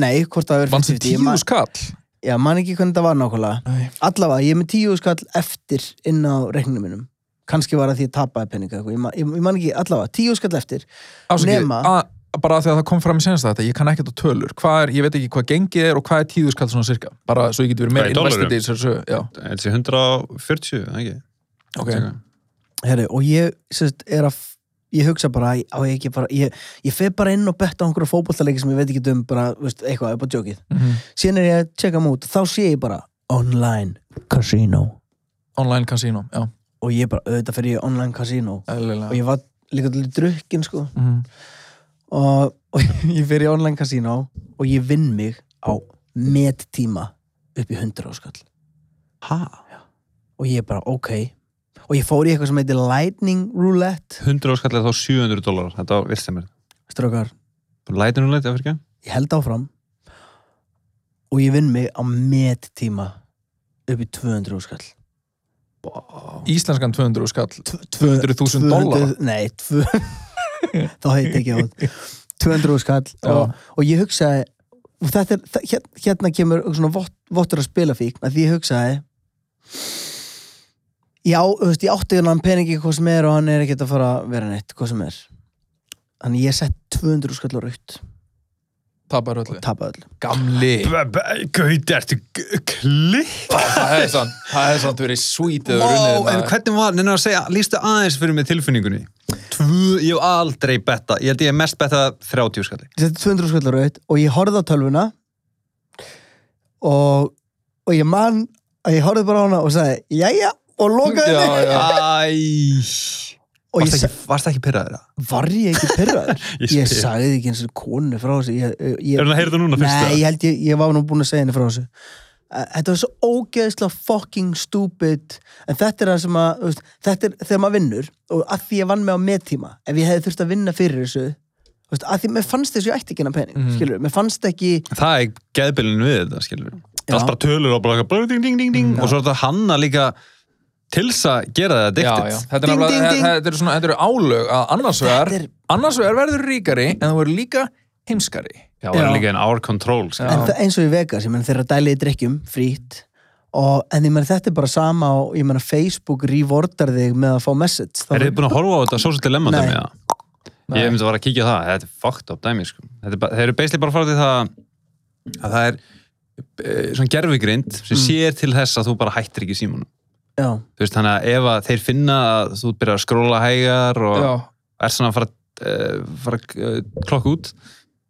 S2: nei, hvort það var
S1: Vannst þið tíu skall?
S2: já, man ekki hvernig það var nákvæmlega
S1: Nei.
S2: allavega, ég er með tíu skall eftir inn á reiknum minnum kannski var að því að tapaði peninga eitthvað. ég, man- ég, ég man ekki, allavega, tíu skall eftir
S1: Ásakið,
S2: Nema-
S1: að- bara af því að það kom fram í senast þetta, ég kann ekkert á tölur. Hvað er, ég veit ekki hvað gengið er og hvað er tíu skall svona cirka? Bara svo ég geti verið
S3: Hvað
S1: meira
S3: í dollurum?
S1: investið í þessu, sögu, já.
S3: þetta sé 140, eða ekki
S1: Ok.
S2: Heri, og ég sérst, er að f- ég hugsa bara, á ég ekki bara ég, ég fer bara inn og betta á einhverju fótbollaleiki sem ég veit ekki um, bara, veist, eitthvað, upp á djókið
S1: Mhm.
S2: síðan er ég að checka mút, þá sé ég bara online casino
S1: Online casino, já,
S2: og ég bara, auðvitað fyrir ég í online casino og
S1: eðlilega.
S2: ég var líka til drukkin sko
S1: Mhm.
S2: og, og ég fer í online casino og ég vinn mig á mettíma upp í 100 áskall
S3: ha?
S2: og ég bara ok og ég fór í eitthvað sem heitir lightning roulette
S3: 100 áskall er þá 700 dólar þetta var vilt sem er
S2: strókar,
S3: lætinu læti, af fyrir
S2: ég held áfram og ég vinn mig á mettíma upp í 200 áskall
S3: ekki
S1: Íslenskan 200 skall, 200.000 dollara.
S2: Nei, tvö... þá heit ekki át 200 skall og, og ég hugsaði og þetta er, það- hér- hérna kemur svona vott, vottur að spila fík að því ég hugsaði já, þú veist, ég átti hann peningi hvað sem er og hann er ekkert að fara að vera neitt hvað sem er þannig ég sett 200 skall á raut
S1: Tapar
S2: og
S1: öllu.
S2: tapaði öll
S1: Gamli.
S3: gauti, ertu klikk
S1: Það hefði sann, það hefði sann verið sweet eða runnið.
S3: Vá, en hvernig var, neina að segja, lístu aðeins fyrir mig tilfinningunni Tvö, ég hef aldrei betta, ég held ég hef mest betta 30 skalli
S2: ég setti 200 skall á raut og ég horfði á tölvuna og og ég man að ég horfði bara á hana og sagði, jæja og lokaði
S1: Já,
S2: henni.
S1: já.
S3: Æ,
S2: og ég
S3: varst
S2: sa-
S3: ekki, varst ekki pyrraður það?
S2: var ég ekki pyrraður
S3: Ég
S2: ég,
S3: spyr.
S2: sagði ekki eins og konu frá þessu ég, ég,
S3: Er hann að heyra það núna fyrst?
S2: nei,
S3: eða?
S2: ég held ég, ég var nú búin að segja henni frá þessu Æ, þetta var svo ógeðslega fucking stupid en þetta er það sem að þú veist, þetta er þegar maður vinnur og að því ég vann mig á mettíma ef ég hefði þurft að vinna fyrir þessu þú veist, að því mér fannst þessu ég ætti ekki hennar pening mm.
S1: Mhm.
S2: skilur, mér fannst ekki
S3: Það er geðbylinn við þetta, skilur Það er
S2: Já.
S3: allt bara tölur og bara blöð, ding, ding, ding, ding og svo er þetta hanna líka til þess að gera það
S1: Já,
S3: addicted
S1: já. Þetta er
S2: Ding,
S1: nefnilega-
S2: ding, ding.
S1: þetta- þetta eru svona, þetta eru álög að annars vegar,
S2: Þetta er-
S1: annars vegar verður ríkari en þú verður líka heimskari.
S3: Já, það er
S2: Já.
S3: líka en our control skilurðu.
S2: en það, eins og í Vegas, ég menn þeirra dæliði drikkjum frýtt og, en ég menn þetta er bara sama og ég menn að Facebook rewardar þig með að fá message Þá-
S3: Er þið búin að horfa á þetta social dilemma
S2: Nei.
S3: dæmi eða? Ég hef myndið að vara að kíkja á það, þetta er fucked up dæmi sko. Þetta er bara- Þeir eru basically bara að fara til það að það er eh, svona gerfugrind sem
S2: Mm.
S3: sér til þess að þú bara hættir ekki símanum
S2: já,
S3: Þú veist, þannig að ef að þeir finna að þú byrjar að skróla hægar og
S1: Já,
S3: er svona að fara, uh, fara uh, klokk út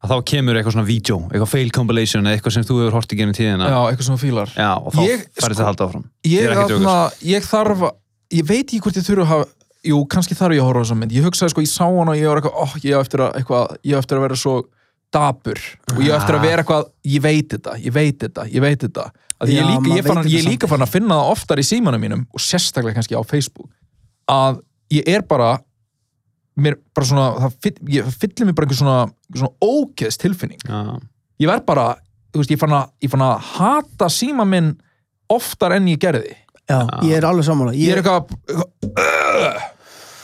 S3: að þá kemur eitthvað svona vídeo, eitthvað fail compilation eða eitthvað sem þú hefur hort í genið tíðina
S1: já, eitthvað svona fílar.
S3: Já, og þá
S1: Ég-
S3: færði þetta
S1: sko-
S3: að halda áfram
S1: ég,
S3: Ég er ekki
S1: þarna, ég þarf að- ég veit ekki hvort ég þurfa að hafa jú, kannski þarf ég að horfa á þessa mynd ég hugsaði sko, ég sá hana og ég var eitthvað oh, ég á eftir að, eitthvað, ég á eftir að vera svo dapur og ég á
S2: Ah.
S1: eftir að vera eitthvað ég veit þetta, ég veit þetta, ég veit þetta að
S2: Já,
S1: ég er líka,
S2: maður
S1: ég fann,
S2: veit
S1: ég er
S2: þetta
S1: líka fann að finna það oftar í símanum mínum og sérstaklega kannski á Facebook að ég er bara mér bara svona það fyll, ég, það fyllir mér bara einhver svona, einhver svona ógeðs tilfinning
S3: Já.
S1: ég verð bara, þú veist, ég fann að, ég fann að hata síma minn oftar en ég gerði
S2: já, ég er alveg sammála
S1: ég er eitthvað,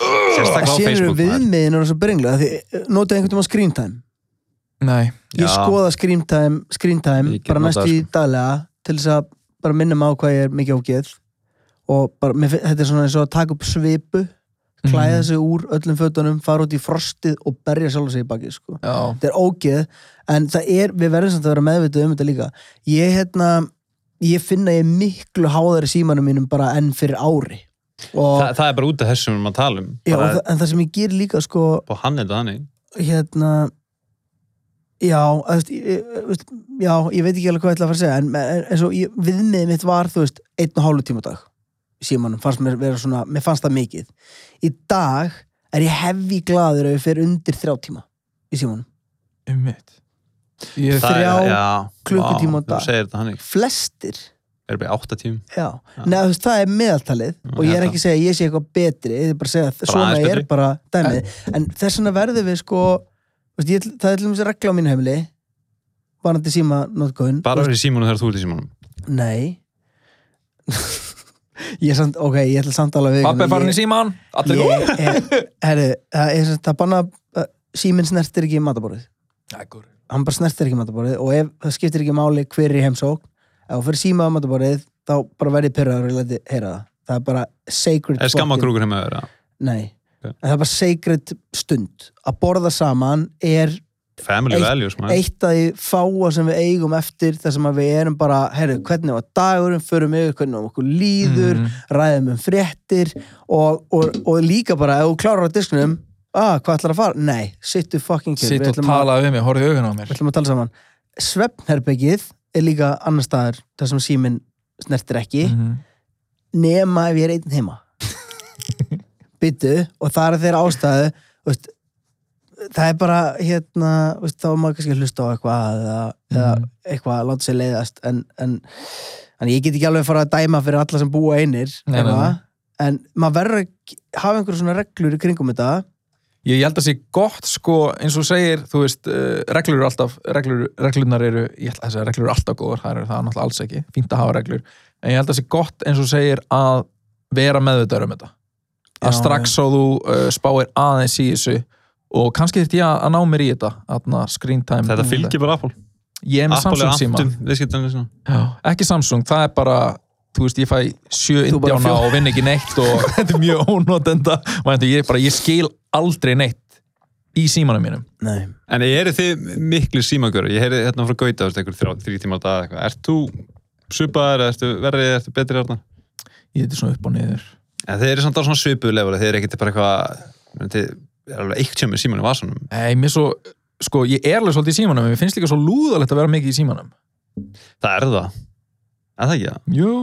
S3: Sérstaklega á
S2: Sér eru
S3: Facebook maður.
S2: viðmiðin og svo byrjinglega því notaði einhvern tíma screen time
S1: nei
S2: ég
S3: Já.
S2: skoða screen time, screen time
S3: Ég get
S2: bara næst
S3: notað, sko.
S2: í daglega til þess að bara minna mig á hvað ég er mikið ágeð og bara, mér, fin- þetta er svona eins og að taka upp svipu klæða
S1: Mm.
S3: Mhm.
S2: sig úr öllum fötunum fara út í frostið og berja sjálf sig í baki sko.
S1: já,
S2: þetta er ógeð en það er, við verðum samt að vera meðvitað um þetta líka ég hérna ég finna ég er miklu háðar í símanum mínum bara enn fyrir ári og,
S3: Þa, það er bara út af þessum við erum að tala um
S2: já, og
S3: bara,
S2: það, en það sem ég ger líka sko,
S3: og hann er þetta þannig
S2: hérna já, þú veist, ég- þú veist, já ég veit ekki alveg hvað ég ætla að fara að segja en, en, en svo, ég, viðmiðið mitt var þú veist, einn og hálfu tíma á dag í símanum, fannst mér vera svona, mér fannst það mikið í dag er ég hefði gladur ef ég fer undir þrjá tíma í símanum,
S1: um mitt ég,
S3: Það er-
S2: þrjá
S3: já,
S2: klukkutíma á
S3: vá,
S2: dag.
S3: þú segir þetta þannig,
S2: flestir
S3: er bara í átta tím
S2: já, neða þú veist, það er meðaltalið og ég er ekki að segja að ég sé eitthvað betri ég er bara að segja að
S3: Bara
S2: svona
S3: aðeins
S2: er
S3: betri.
S2: bara dæmið, en þess vegna verðum við sko, þú veist, ég, ætl- það er til dæmis regla á mínu heimili varandi síma notgóðun
S3: bara verið í símónu þegar þú ert í símónum
S2: Nei Ég er samt, ok, ég ætla samt alveg að
S1: pappi er farin í síman allir,
S2: Ég
S1: yeah.
S2: er, herru, það er samt að banna uh, Síminn snertir ekki mataborðið
S1: Ægur.
S2: Hann bara snertir ekki mataborðið og ef það skiptir ekki máli hver er í heimsókn ef þú fyrir síma á mataborðið þá bara verði pyrraður og ég leti heyra það Það er bara sacred
S3: er
S2: fucking-
S3: skammakrúkur heima þeirra
S2: Nei, en
S3: Ok.
S2: það er bara sacred stund Að borða saman er
S3: family
S2: Eitt-
S3: values maður
S2: eitt af því fáa sem við eigum eftir þar sem að við erum bara, herru, hvernig var dagurinn, förum yfir, hvernig var okkur líður
S1: Mhm.
S2: ræðum um fréttir og, og, og líka bara, ef þú klárar á disknum ah, hvað ætlar að fara? Nei, sittu fucking kyrr,
S1: sitt
S2: við
S1: og
S2: ætlum að,
S1: tala við mig, horfðu í augun á mér
S2: við ætlum að tala saman svefnherbergið er líka annar staðar þar sem síminn snertir ekki
S1: Mhm.
S2: nema ef ég er einn heima byttu og það er þeirra ástæðu þú veist, það er bara hérna, þú veist, þá er maður kannski að hlusta á eitthvað eða, eða
S1: Mhm.
S2: eitthvað að láta sér leiðast en, en, en ég get ekki alveg að fara að dæma fyrir alla sem búa einir
S1: Nei, nei,
S2: eitthvað.
S1: nei.
S2: en maður verður að g- hafa einhverjum svona reglur í kringum þetta
S1: Ég held að sé gott sko, eins og þú segir, þú veist, uh, reglur eru alltaf, reglur, reglunar eru, ég held að þess að reglur eru alltaf góður, það eru það náttúrulega alls ekki, fínt að hafa reglur, en ég held að sé gott eins og þú segir að vera meðvitaður um þetta. Að
S2: Já,
S1: strax svo þú uh, spáir aðeins í þessu og kannski þurft ég að- að ná mér í þetta, aðna screen time.
S3: þetta fylgir bara Apple
S1: Ég er með
S3: Apple
S1: Samsung
S3: er
S1: síma.
S3: aftum viðskiptarnir svona
S1: Já, ekki Samsung, það er bara, þú veist, ég fæ sjö
S2: Þú bara
S1: indjána
S2: fjó-
S1: og vinn ekki neitt og þetta er mjög ónotenda, Væntu, ég, bara, ég skil aldrei neitt í símanum mínum.
S2: Nei.
S3: En eru þið miklu símagjörur? Ég heyrði hérna frá Gauta, þú veist, einhver þrjá, þrjú tíma á dag eitthvað. Ert þú svipaður, ertu verrið, ertu betri hérna?
S1: Ég þetta svona upp og niður.
S3: En þeir eru samt á svona svipuðu lefur, þeir eru ekkert bara eitthvað, menn, þið er alveg eitt sem er síman í vasanum.
S1: Nei, mér svo, sko, ég er alveg svolítið í símanum, en mér finnst líka svo lúðalegt að vera mikið í símanum.
S3: Það er það. Er það ekki það?
S1: Jú.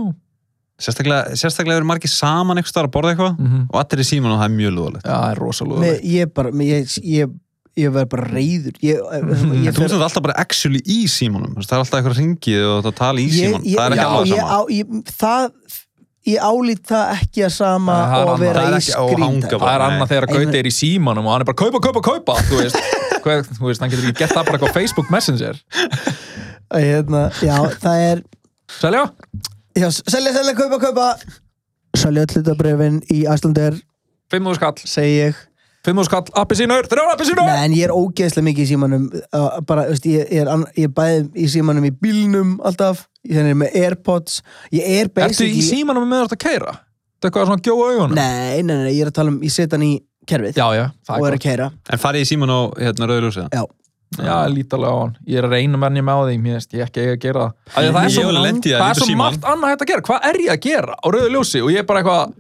S3: Sérstaklega, sérstaklega eru margir saman eitthvað að borða eitthvað
S1: Mm
S3: og allir í síman og það er mjög lúðalegt.
S1: Já, það er rosa
S2: Með,
S1: lúðalegt.
S2: ég bara með, ég, ég, ég verð bara reyður ég, eh,
S1: Mhm.
S2: ég,
S3: Mm. En þú ert alltaf bara actually í símanum, þú veist, það er alltaf eitthvað ringið og það tala í síman,
S2: ég, já,
S3: það er ekki alveg
S2: ég,
S3: sama.
S2: á, ég, það, ég álít það ekki að sama
S1: Nei, það er
S2: og
S1: annað.
S2: að vera
S3: Það er
S2: í
S3: ekki- og
S2: skrýnd
S3: hanga
S1: Það er
S3: Nei.
S1: annað þegar að
S2: Nei,
S1: Gauti er í símanum og hann er bara kaupa, kaupa, kaupa, þú veist. Hvað, þú veist, hann getur ekki gett það bara eitthvað á Facebook Messenger.
S2: hérna, já, það er
S1: Selja?
S2: já, selja, selja, kaupa, kaupa selja öll hlutabrefin í Æslander
S1: 5.000 skall.
S2: segi ég,
S1: 5.000 skall, appi sínur, þrjá appi sínur!
S2: Nei, en ég er ógeðslega mikið í símanum uh, bara, veist, ég, ég, er, ann- ég er bæði í símanum í bílnum alltaf, ég er með Airpods ég er
S1: Ertu í
S2: basically
S1: símanum með þetta að keira? Þetta er eitthvað svona gjóa augunum?
S2: nei, nei, nei, ég er að tala um, ég setja hann í kerfið
S1: Já, já, það
S2: og
S1: er
S2: er að
S1: gott.
S2: keira
S3: En farið í síman og hérna rauðljósið?
S2: já,
S1: Já, lítalega á hann. Ég er að reyna menni með á því, mér veist, ég ekki eiga að gera það. Af því að Það er
S3: Ég
S1: svo,
S3: hef lent í að
S1: það
S3: líta
S1: er svo
S3: símann.
S1: margt annað hægt að gera. Hvað er ég að gera á rauðu ljósi? Og ég er bara eitthvað,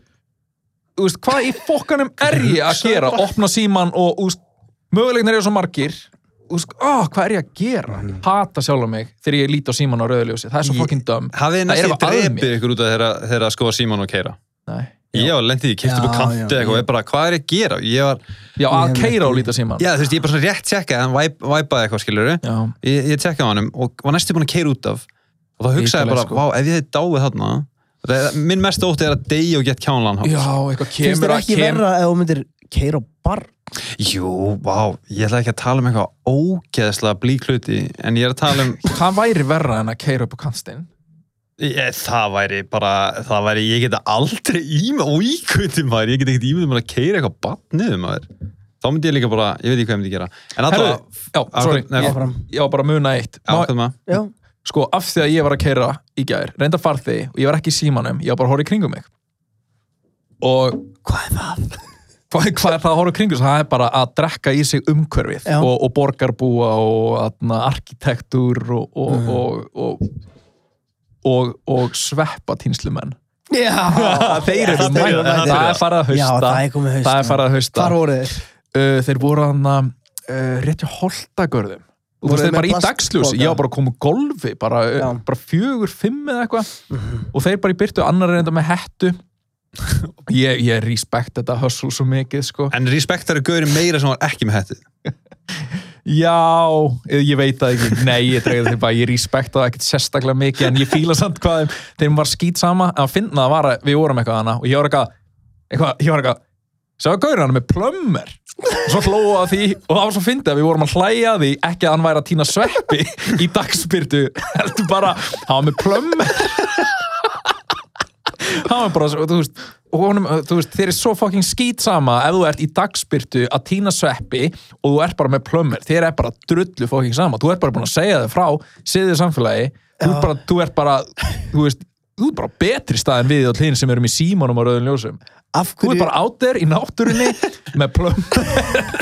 S1: þú veist, hvað í fokkanum er ég að gera? Opna síman og, þú veist, möguleiknir eru svo margir. Þú veist, oh, hvað er ég að gera? Hata sjálf mig þegar ég líti á síman á rauðu ljósi. Það er svo
S3: Ég-
S1: fokkin döm.
S3: Hafið þið
S1: Það er
S3: næstu
S1: bara að mér.
S3: drepið ykkur út af þeirra, þeirra að skoða síman og keira?
S1: Nei,
S3: Ég var lendið, ég kipti upp
S2: Já, já,
S3: kanti eitthvað,
S2: já.
S3: ég bara, hvað er ég að gera? Ég var,
S1: Já, að
S2: Ég hef
S1: keira
S2: ekki-
S1: og líta síman.
S3: já, þú veist, ég bara svona rétt tjekkaði, hann væp- væpaði eitthvað, skilur
S1: Já.
S3: Ég, ég tjekkaði á honum og var næstu búin að keira út af og þá hugsaði ég
S1: Ríkalegt,
S3: bara,
S1: sko.
S3: vá, ef ég hefði dáið þarna, það, er- minn mest ótti er að deyja og gett kjánlan
S1: Já, eitthvað
S2: finnst
S1: kemur
S2: þér
S1: að
S2: ekki
S1: kemur.
S2: verra ef þú myndir keira á bar
S3: Jú, vá, ég ætla ekki að tala um eitthvað ógeðslega blík hluti en ég er að tala um,
S1: Hvað væri verra en að keira upp á kantstinn?
S3: ég, það væri bara, það væri, ég geta aldrei íma, óíkundi maður, ég geta ekkert ímyndum að keira eitthvað batniðum maður þá myndi ég líka bara, ég veit ekki hvað ég myndi gera en
S1: Herru,
S3: alltaf,
S1: já, sorry,
S3: nei,
S1: ég,
S2: áfram
S1: ég var bara að muna eitt. Má,
S3: ákveð maður
S2: já,
S1: sko, af því að ég var að keira í gær, reynda farþegi og ég var ekki í símanum, ég var bara að horfa í kringum mig. Og
S2: hvað er það?
S1: hvað, hvað er það að horfa í kringum? sig? Það er bara að drekka í sig umhverfið
S2: Já.
S1: og, og borgarbúa og atna, arkitektúr og, og,
S2: Mm.
S1: og, og, og, og sveppa tínslumenn.
S2: já,
S1: Þeir eru
S2: það
S1: mættir.
S2: eru mættir.
S1: Það er farið að
S2: já,
S1: hausta.
S2: það er komið haust
S1: Það er farið að hausta.
S2: hvar voru þeir?
S1: uh, þeir voru hann uh, rétt hjá holtagörðum og þú
S2: Voru
S1: veist
S2: þeir
S1: þeir bara
S2: með
S1: í dagsljósi
S2: plastpoka?
S1: ég var bara að koma úr golfi bara, uh,
S2: Já.
S1: bara fjögur, fimm eða eitthvað og þeir bara í byrtu, annar er enda með hettu ég, ég respekt þetta hustle svo mikið sko
S3: en respektar er gaurin meira sem var ekki með hættu
S1: já, eh, ég veit það ekki nei, ég dreigði þeir bara, ég respekta það ekkert sérstaklega mikið en ég fíla samt hvað þeim- þeim var skýt sama, en að finna það var að við vorum eitthvað hana og ég var eitthvað, eitthvað ég var eitthvað Sjáðu gaurinn hann er með plömmir og svo hlóðu að því og það var svo fyndið að við vorum að hlæja að því ekki að hann væri að týna sveppi í dagspyrtu heldur bara, hann var með plömmir hann var bara, svo- þú veist og honum, þú veist, þeir eru svo fucking skýt sama ef þú ert í dagspyrtu að týna sveppi og þú ert bara með plömmir þeir eru bara drullu fucking sama þú ert bara búin að segja þau frá, segja þau samfélagi þú ert, bara, þú ert bara, þú veist þú ert bara betri stað en við öll hinn sem erum í símanum og rauðin ljósum
S2: af
S1: Þú ert
S2: hverju,
S1: bara out there í náttúrunni með plömm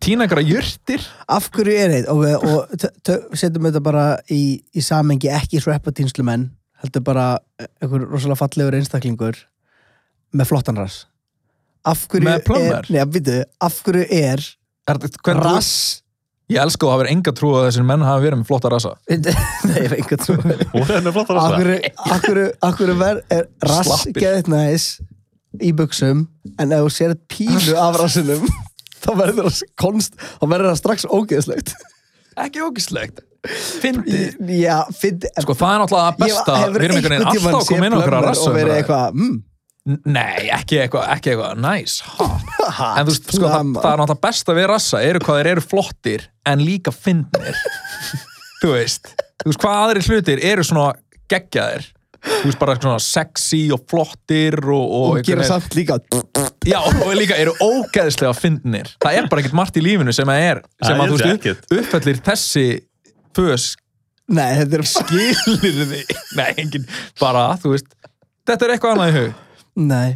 S1: Týna einhverja jurtir
S2: af hverju er þeir? og, og tö- tö- setjum þetta bara í, í samengi ekki sreppatýnslumenn heldur bara eh, einhver rosalega fallegur einstaklingur með flottan rass af hverju
S1: Með plömmar?
S2: er, neða, býtu, af hverju er
S1: Er þetta- hvernig þú-
S2: rass
S1: Ég elska þú, það verður enga trú að þessir menn hafa verið með flotta rasa
S2: nei, ég veit hvað Akkur, akkur, akkur ver, er rass
S1: Slappir.
S2: geðið næs í buksum en ef þú sér pílu af rassinum þá verður það konst þá verður það strax ógeðslegt
S1: Ekki ógislegt Fyndi
S2: já, finn
S1: Sko það er náttúrulega það besta Við erum einhvern veginn alltaf að koma inn á einhverja rasa
S2: og verið eitthvað mm,
S1: Nei, ekki eitthvað, ekki eitthvað, nice hot.
S2: ha,
S1: En þú veist, sko, það,
S2: slamma.
S1: það er náttúrulega besta við rassa Eru hvað þeir eru flottir En líka fyndnir Þú veist Þú veist, hvað aðri hlutir eru svona geggjaðir Þú veist, bara svona sexy og flottir Og, og,
S2: og gera
S1: einhvern veginn-
S2: samt líka
S1: Já, og líka eru ógæðslega fyndnir. Það er bara ekkert margt í lífinu sem að er, sem
S3: Það
S1: að
S3: er
S1: þú veist,
S3: ekkert.
S1: upp- uppfellir þessi fös
S2: nei, þetta er
S1: skilirði. Nei, engin, bara, þú veist, þetta er eitthvað annað í hug.
S2: nei,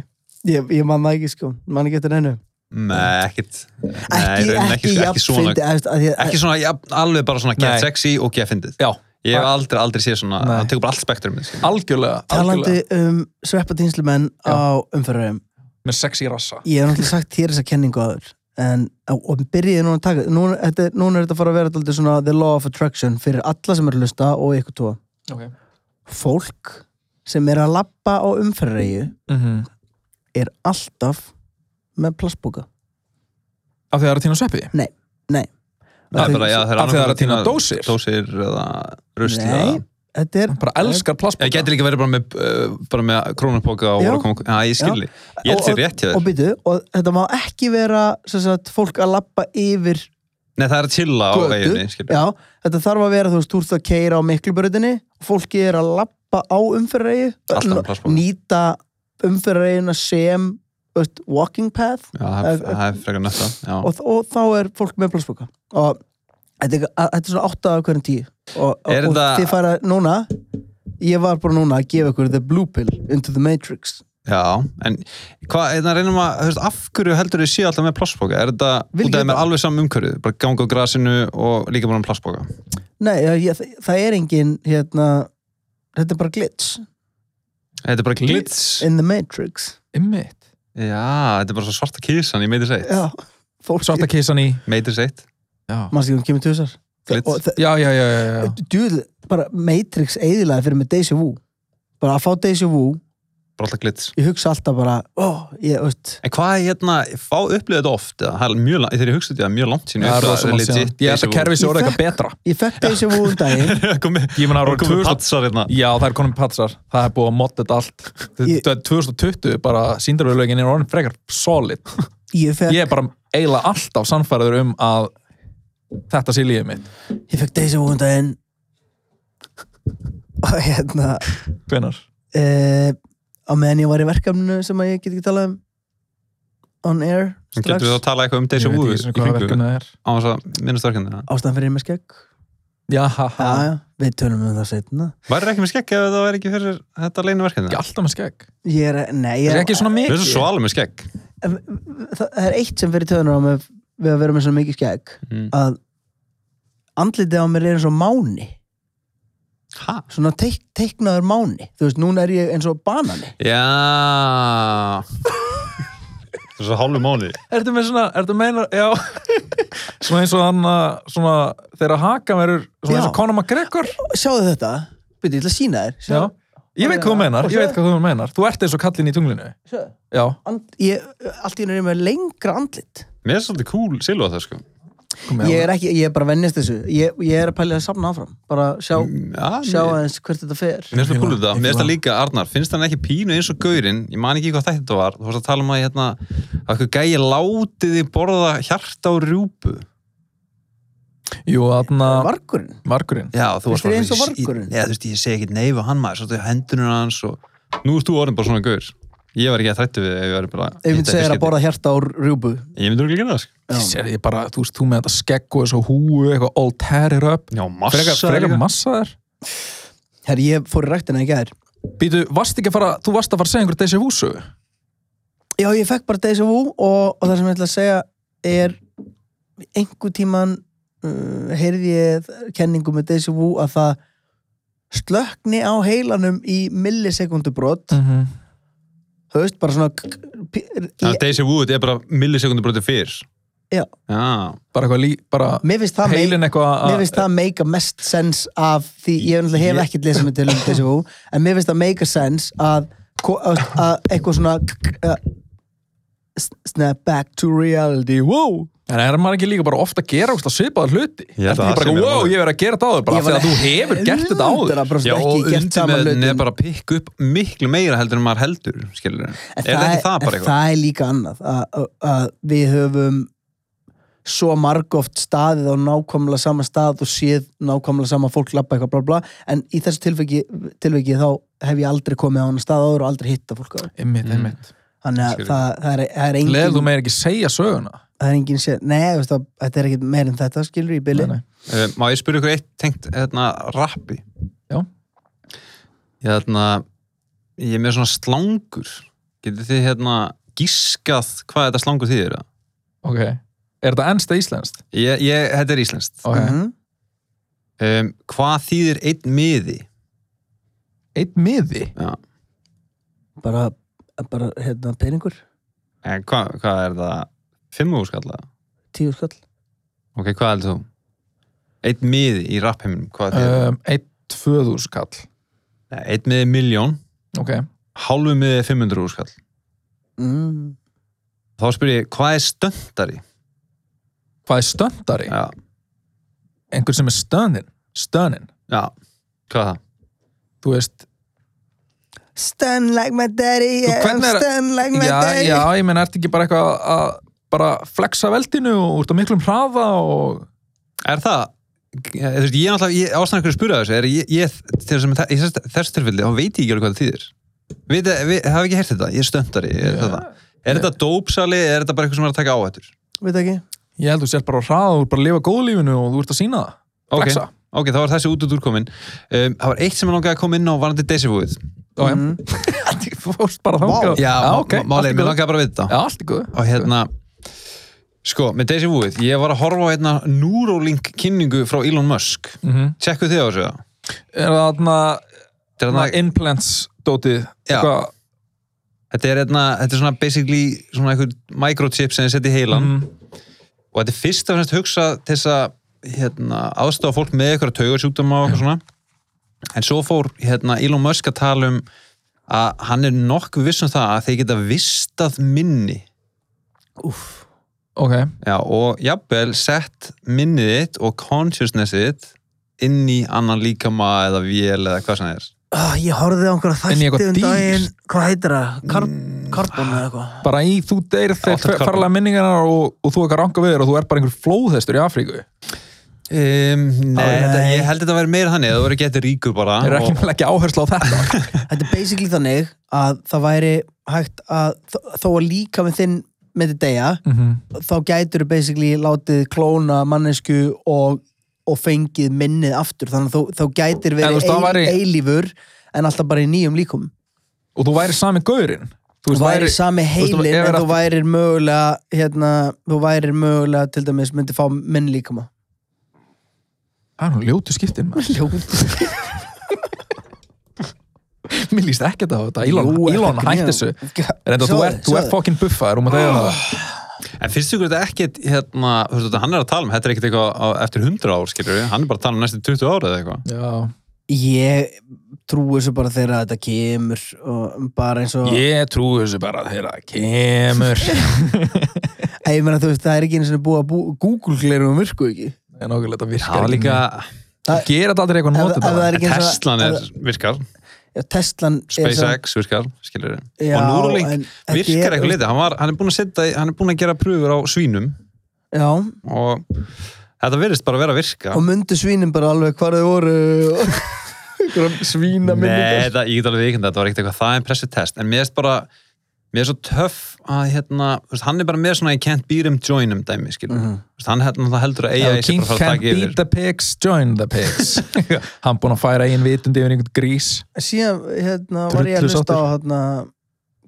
S2: ég, ég man það ekki sko man ekki eftir hennu
S3: nei, ekkit nei,
S2: ekki,
S3: raunin
S2: ekki,
S1: sko,
S3: ekki svona
S2: fyndi, að, að, að,
S3: ekki svona, jafn- alveg bara svona
S1: Nei.
S3: get sexy og get fyndið
S1: Já,
S3: ég hef aldrei, aldrei séð svona,
S1: Nei.
S3: það tekur bara allt spektrumið skilur.
S1: algjörlega, algjörlega,
S2: talandi um sveppatýnslumenn á umferðarum
S1: með sexy rassa.
S2: Ég hef náttúrulega sagt þér þessa kenningu aður en, og og byrjiði núna að taka núna, þetta, er- núna er þetta að fara að vera dálítið svona the law of attraction fyrir alla sem eru að hlusta og ykkur tóa.
S1: Ok.
S2: Fólk sem er að labba á umferðreiðu
S1: Mm -hmm.
S2: er alltaf með plastbóka.
S1: Af því það er að týna sveppi.
S2: Nei, nei.
S3: það er bara, já, það
S1: Af því það er
S3: er
S1: að
S3: annaðhvort
S1: týna dósir.
S3: dósir eða rusl eða
S2: Nei, þetta er
S1: Bara elskar plastbóka.
S3: Ég gæti líka verið bara með, uh, bara með krónupoka og
S2: Já.
S3: voru að koma, já, ég skilji. Ég held sér
S2: Og-
S3: rétt hjá
S2: og
S3: þér.
S2: byrju, og þetta má ekki vera sem sagt, fólk að labba yfir
S3: Nei, það er að chilla á
S2: götu.
S3: veginni, skilji.
S2: Já, þetta þarf að vera, þú veist, þú ert að keira á miklubröðinni fólki er að lappa á
S3: Alltaf um með
S2: umferðaregi
S3: plastpoka.
S2: nýta umferðarregina sem þú veist, walking path
S3: Já, það
S2: Eh,
S3: er- það er frekar nötta, já.
S2: og, og þá er fólk með plastboka og þetta er, að- þetta er svona 8 af hverjum 10 og, og,
S3: Er
S2: og
S3: þetta-
S2: þið fara núna ég var bara núna að gefa ykkur the blue pill into the matrix
S3: Já, en hvað, hérna reynum að, þú veist, af hverju heldur þið séu alltaf með plastboka? Er þetta
S2: Vil
S3: út
S2: ég
S3: af þeim er
S2: það?
S3: alveg saman umhverju? Bara ganga á grasinu og líka bara með plastboka?
S2: nei, ég, ég, það er engin hérna, þetta er bara glitch
S3: Þetta er bara glits.
S2: in the matrix
S1: Ymmit.
S3: Já, þetta er bara svo svarta kísan í meitir seitt.
S2: já, fólk
S1: Svarta kísan í.
S3: Meitir seitt.
S1: Já.
S2: mannst ekki hún kemur til þessar
S3: Glitch.
S2: og,
S1: Já, já, já, já, já.
S2: djúðl, bara Matrix eðilaði fyrir mig Deja Vu bara að fá Deja Vu
S3: bara alltaf glits
S2: ég hugsa alltaf bara ó, ég, veist,
S3: En hvað, hérna, fá upplifið þetta oft eða, það er mjög, la- þegar ég hugsa þetta, það er mjög langt sín
S1: Það er rosa langt síðan. Ég held að kerfið sé orðið eitthvað betra.
S2: ég fekk þessi vúðum daginn
S3: Komið,
S1: Ég meina, árið
S3: komið
S1: 2000
S3: patsar hérna
S1: Já, það er konum patsar. Það er búið að modda þetta allt.
S2: Ég-
S1: Þetta er 2020 bara síndarverulegin er orðin frekar solid.
S2: ég fekk,
S1: Ég er bara eiginlega alltaf sannfæður um að þetta sé lífið mitt.
S2: ég fekk þessi vúðum daginn og hérna
S1: Hvenar?
S2: uh, á meðan ég var í verkefninu sem að ég get ekki talað um on air
S3: Getur við þá
S2: strax,
S3: að tala eitthvað um Deja Vu í kringu
S1: það er.
S3: á þess að minnast verkefni
S2: ástæðan fyrir ég er með skegg
S1: Já, ha, ha.
S2: já, já, við tölum um það setna
S3: Væri ekki með skegg ef það væri ekki fyrir þetta leinu verkefni
S1: Ekki alltaf með skegg.
S2: ég er, nei,
S1: Það
S2: ég
S1: er ekki svona
S3: Við
S1: mikið.
S3: erum svo alveg með skegg
S2: það, það er eitt sem fyrir töðunar á mig við að vera með svona mikið skegg
S3: Mm.
S2: að andlitið á mér er eins og máni
S3: Ha?
S2: svona teik, teiknaður máni þú veist, núna er ég eins og banani
S3: Já Það er svo hálfu mánu
S1: Ertu með svona, ertu meina, já Svona eins og hann að svona, þegar haka verður svona eins og
S2: Já.
S1: Conor McGregor
S2: sjáðu þetta, byrja, ég ætla að sína þér
S1: Já,
S2: sjáðu,
S1: ég veit hvað þú meinar, ég veit hvað þú meinar Þú ert eins og kallinn í tunglinu
S2: sjáðu
S1: Já,
S2: And, ég, allt í hennu er ég með lengra andlit
S3: Mér er svolítið cool silva það sko
S1: kom með
S2: ég er ekki, ég er bara að vennist þessu ég, ég er að pæla að safna áfram bara sjá,
S3: Já,
S2: sjá
S3: mér-
S2: aðeins hvert þetta fer
S3: Mér finnst það
S1: Ekki
S3: kúlið
S1: það,
S3: það,
S1: ekki
S3: mér finnst það
S1: það.
S3: líka, Arnar, finnst það ekki pínu eins og gaurinn, ég man ekki hvað þetta þetta var, þú varst að tala um að hérna, að eitthvað gæi látið þið borða hjarta og rjúpu.
S1: Jú, þarna
S2: vargurinn,
S1: Markurinn
S3: Já,
S2: Finnst
S3: þú varst
S2: þér
S3: bara
S2: eins og
S3: ég-
S2: vargurinn?
S3: Já, þú veist, ég segi ekkert neyfa hann maður, svolítið hendunum hans og nú erst þú orðin bara svona gaur. Ég var ekki að þrættu við þig ef ég var bara...
S2: ef við segir að
S3: hitta
S2: borða hjarta á rjúbu
S3: fiskiti. Ég myndi örugglega gera það, sko.
S1: Ég sér ég bara, þú veist, þú með þetta skegg og þessu húu eitthvað all tearir up
S3: Já, massa.
S1: Frekar, frekar massaðar
S2: herri, ég fór í ræktina í gær
S1: Býtu, varst ekki að fara, þú varst að fara að segja einhver Deja Vu sögu
S2: já, ég fekk bara Deja Vu og, og það sem ég ætla að segja er einhver tíman uh, heyrði ég kenningu með Deja Vu að það slökni á heilanum í millisekundubrót
S1: mm -hmm.
S2: þú veist, bara svona k- k- p-
S3: Þannig að Daisy Wood er bara millisekundu brotið fyrr.
S2: Já.
S3: Já.
S1: Bara eitthvað lí, bara
S2: mér finnst það
S1: heilin eitthvað
S2: mér
S1: að
S2: finnst það make a mest sense af því ég náttúrulega hef
S3: Ég-
S2: ekkert lesað mig til um þessu hú en mér finnst það make a sense að, ko- að, að eitthvað svona k- k- að s- snap back to reality wow
S1: En er maður ekki líka bara ofta að gera ósla svipaða hluti?
S3: Ég held
S1: Ertu
S3: að
S1: ekki
S3: það
S1: bara,
S3: sé meira
S1: wow,
S3: málið.
S1: ég verið að gera þetta áður bara
S2: Ég
S1: af því
S2: var
S1: að þú hefur gert þetta áður
S2: 100%
S3: Já, og
S2: ekki gert
S3: undir
S2: sama
S3: með
S2: hlutin.
S3: er bara að pikka upp miklu meira heldur en maður heldur, skilur.
S2: En
S3: Er það ekki það bara
S2: en
S3: eitthvað?
S2: það er líka annað að, að, að við höfum svo margóft staðið á nákvæmlega sama stað og séð nákvæmlega sama fólk lappa eitthvað bla bla en í þessu tilviki, tilviki þá hef ég aldrei komið á hann stað áður og aldrei hitta fólk áður
S1: Einmitt,
S3: Mm.
S1: einmitt.
S2: þannig að
S3: Skilji.
S2: það, það, er, það er engin
S1: Leður þú meir ekki segja söguna?
S2: það er engin sér, nei, þú veist það, þetta er ekkit meir en þetta skilur í byli
S1: Nei, nei.
S3: Uh, má ég spyrja ykkur eitt tengt hérna, rappi?
S1: Já.
S3: Ég, hérna, ég er með svona slangur. Getið þið hérna gískað hvað þetta slangur þýðir? eða?
S1: Ok. Er þetta ennst eða íslenskt?
S3: Ég, ég, þetta er íslenskt.
S1: Ok.
S2: Mhm.
S3: Um, hvað þýðir einn miði?
S1: Eitt miði?
S3: Já.
S2: bara, bara hérna, peningur,
S3: En Hvað, hvað er það? Fimmúskalla?
S2: tíu skall
S3: Ok, hvað heldur þú? Einn miði í rappheiminum, hvað þýðir?
S1: Um, eitt tvöðús kall.
S3: Uh, einn miði er miljón,
S1: Ok.
S3: hálfu miði er 500 úrskall.
S2: mm.
S3: Þá spyr ég, hvað er stöndari?
S1: Hvað er stöndari?
S3: Já.
S1: Einhver sem er stönnin. Stönnin.
S3: Já. Hvað er það?
S1: Þú veist,
S2: stun like my daddy
S1: Þú,
S2: I'm
S1: hvernig er-
S2: stun like my
S1: já,
S2: daddy
S1: já, ég menn, ertu ekki bara eitthvað að bara flexa veldinu og út á miklum hraða og...
S3: Er það, ég, þú veist, ég er náttúrulega, ég ástæðan hverju að spura þessu, er ég, ég til þess að, í þess- þessu tilfelli, þá veit ég ekki alveg hvað það þýðir. Við, við, hafa ekki heyrt þetta, ég er stöndari, ég er
S1: Já.
S3: þetta. Er þetta dópsali, er þetta bara eitthvað sem er að taka áhættur?
S2: veit ekki
S1: Ég held þú sér bara á hraða, þú ert bara að lifa góðlífinu og þú ert að sína það.
S3: Ok.
S1: Flexa.
S3: Ok, þá var þessi út út úrkomin. Um, það var eitt sem ég langaði að koma inn á varandi desivúið.
S1: Já, já.
S2: Mm.
S1: Þú fórst bara þangað.
S3: Já,
S1: Ah, ok.
S3: má- málið,
S1: allt í
S3: er, mér
S1: góðu.
S3: langaði bara að við þetta.
S1: Já, allt í góðu.
S3: og hérna sko, með Daisy Wooid, ég var að horfa á hérna Neuralink kynningu frá Elon Musk
S1: Mhm.
S3: tjekku þið á þessu það?
S1: Er það þarna,
S3: Þetta er
S1: þarna
S3: hérna-
S1: implants dótið?
S3: Já.
S1: eitthvað-
S3: þetta er hérna, þetta er svona basically svona einhver microchip sem þið setja í heilan
S1: Mhm.
S3: og þetta er fyrst af hérna hugsa til þess að hérna, aðstofa fólk með eitthvað taugarsjúkdóma og eitthvað svona en svo fór hérna Elon Musk að tala um að hann er nokkuð viss um það að þeir geta vistað minni
S2: Úf.
S1: ok,
S3: Já, og jafnvel sett minnið þitt og consciousnessið þitt inn í annan líkama eða vél eða hvað sem það er.
S2: Ah, ég horfði á einhverja
S1: Inn í
S2: þætti
S1: eitthvað
S2: um daginn
S1: dýr. Mm.
S2: hvað heitir það? Kar karbon eða eitthvað
S1: bara í þú deyr þegar
S3: Alltaf karbon.
S1: farlega minningarnar og, og þú eitthvað ranga við þér og þú er bara einhver flóðhestur í Afríku
S3: Um, nei,
S2: Ó,
S3: þetta,
S2: nei.
S3: ég held þetta að vera meira þannig að þú verður getið ríkur bara.
S1: er ekki með ekki áherslu á þetta
S2: Þetta er basically þannig að það væri hægt að þó- þó að líka með þinn með þetta deyja
S1: Mhm.
S2: þá gætur þú basically látið klóna mannesku og, og fengið minnið aftur þannig að þú, þá gætir
S1: En þú
S2: verið
S1: veist, það væri-
S2: eilífur en alltaf bara í nýjum líkum
S1: og þú væri sami gaurinn þú
S2: þú
S1: veist,
S2: væri sami
S1: þú veist,
S2: heilin
S1: ef er
S2: en þú
S1: aftur-
S2: værir mögulega hérna, þú værir mögulega til dæmis myndi fá minn líkama
S1: það er Ah, nú ljótu skiptin maður.
S2: Ljóð
S1: mér líst ekkert á þetta Elon, Elon hætti þessu Reynda, þú ert, þú ert fokkin buffaður og maður þegar það
S3: En finnst ykkur þetta ekkit, hérna, þú veist þetta, hann er að tala um, þetta er ekkit eitthvað á, eftir 100 ár, skilur við, hann er bara að tala um næstu 20 ára eða eitthvað.
S1: Já.
S2: Ég trúi þessu bara þegar þetta kemur og bara eins og
S1: ég trúi þessu bara þegar það kemur
S2: Æ, Ég meina þú veist, það er ekki einu sinni búið að bú, Google glerum virku ekki
S1: en okkur þetta
S3: Það
S1: virkar
S3: er líka,
S2: Það-
S1: gera þetta aldrei eitthvað
S2: Ef-
S1: notið
S2: ef það er ekki eins og-
S3: Teslan er,
S2: ef það-
S3: virkar,
S2: Já, Teslan er samt-
S3: SpaceX virkar, skilur við.
S2: Já,
S3: Og Neuralink
S2: en þetta
S3: virkar
S2: er-
S3: eitthvað litið, hann, var- hann er búin að setja, í- hann er búin að gera pröfur á svínum
S2: Já,
S3: og þetta verðist bara að vera að virka.
S2: og myndu svínin bara alveg hvar þau voru og einhverja svína
S3: Nei,
S2: minningar
S3: það, ég get alveg vikind að þetta var ekkert eitthvað það impressive test, en mér erst bara mér er svo töff að hérna þú veist, hann er bara með svona I can't beat him, join him dæmi, skilur, mm -hmm. hann hérna það heldur að
S1: Ef
S3: eiga
S1: Mhm. King can beat the pigs, join the pigs hann búinn að færa einn vitund yfir einhvern grís
S2: Síðan hérna, var ég að hlusta á hérna,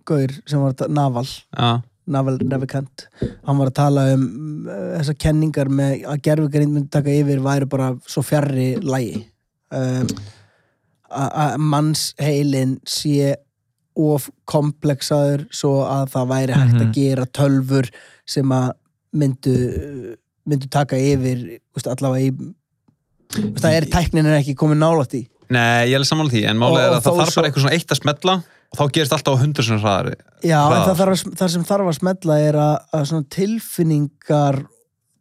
S2: Gaur sem var þetta Naval
S3: Já,
S2: Naval Nevikant hann var að tala um uh, þessar kenningar með að gerfugrind myndi taka yfir væri bara svo fjarrri lægi um, að að mannsheilin sé of komplexaður svo að það væri hægt
S1: Mhm.
S2: að gera tölfur sem að myndu uh, myndu taka yfir úst, allavega í úst, það er tæknin er ekki komin nálætt í
S3: nei, ég er alveg sammála því en
S2: Og-
S3: málið er
S2: og
S3: að það
S2: þó
S3: þarf
S2: svo-
S3: bara eitthvað svona eitt að smetla og þá gerist alltaf á hundur sem hraðari
S2: Já, en
S3: Hraðar.
S2: það, þarf, að- það sem þarf að smetla er að, að svona tilfinningar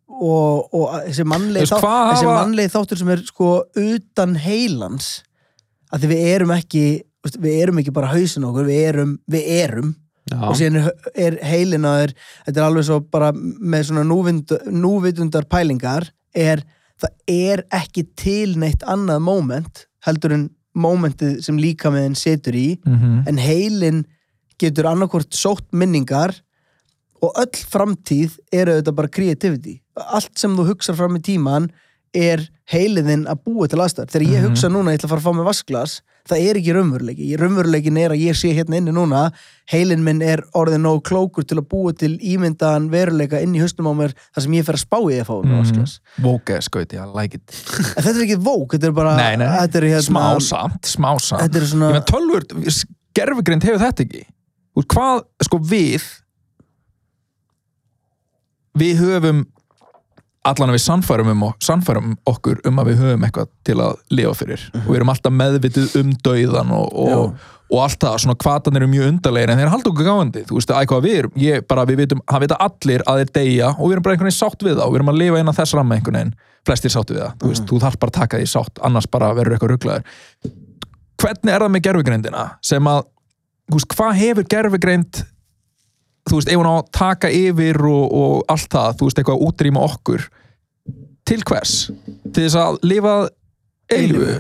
S2: og, og að- þessi mannlegi,
S1: Þú veist, hvað
S2: þessi
S1: hafa-
S2: mannlegi þáttur sem er sko utan heilans að því við erum ekki þú veist, við erum ekki bara hausin okkur, við erum við erum og
S3: Já,
S2: síðan er, er heilin að þeir þetta er alveg svo bara með svona núvind, núvitundar pælingar er, það er ekki til neitt annað moment heldur en momentið sem líka með enn setur í en heilin getur annarkvort sótt minningar og öll framtíð er auðvitað bara creativity allt sem þú hugsar fram í tíman er heiliðin að búa til aðstæður þegar ég
S1: Mhm.
S2: hugsa núna að ég ætla að fara að fá mig vasklas það er ekki raunveruleiki, raunveruleikin er að ég sé hérna inni núna, heilin minn er orðið nóg klókur til að búa til ímyndaðan veruleika inn í hausnum á mér þar sem ég fer að spá í að fá mig
S1: Mhm.
S2: vasklas
S1: vóka skauti, I like it
S2: en þetta er ekki vók, þetta er bara
S1: nei, nei,
S2: Þetta er, hérna,
S1: smá samt, smá samt
S2: þetta er
S1: ég
S2: svona
S1: meina tölvur, gerfugrind hefur þetta ekki úr hvað, sko við við höfum allan að við sannfærum, um, ok- sannfærum okkur um að við höfum eitthvað til að lifa fyrir og við erum alltaf meðvitið um dauðan og, og, og allt það, svona kvatan eru mjög undarlegir en þeir halda okkur gáandi, þú veist að eitthvað við erum, ég bara við vitum, hann vita allir að þeir deyja og við erum bara einhvern veginn sátt við það og við erum að lifa innan þess ramma einhvern veginn, flestir sátt við það þú veist, þú þarf bara að taka því sátt, annars bara verður eitthvað rugglaður hvernig er það með gerfugrindina sem að, þú veist, hvað hefur gerfugrind þú veist, ef hún á að taka yfir og, og allt það, þú veist, eitthvað að útrýma okkur til hvers? til þess að lifa eilfu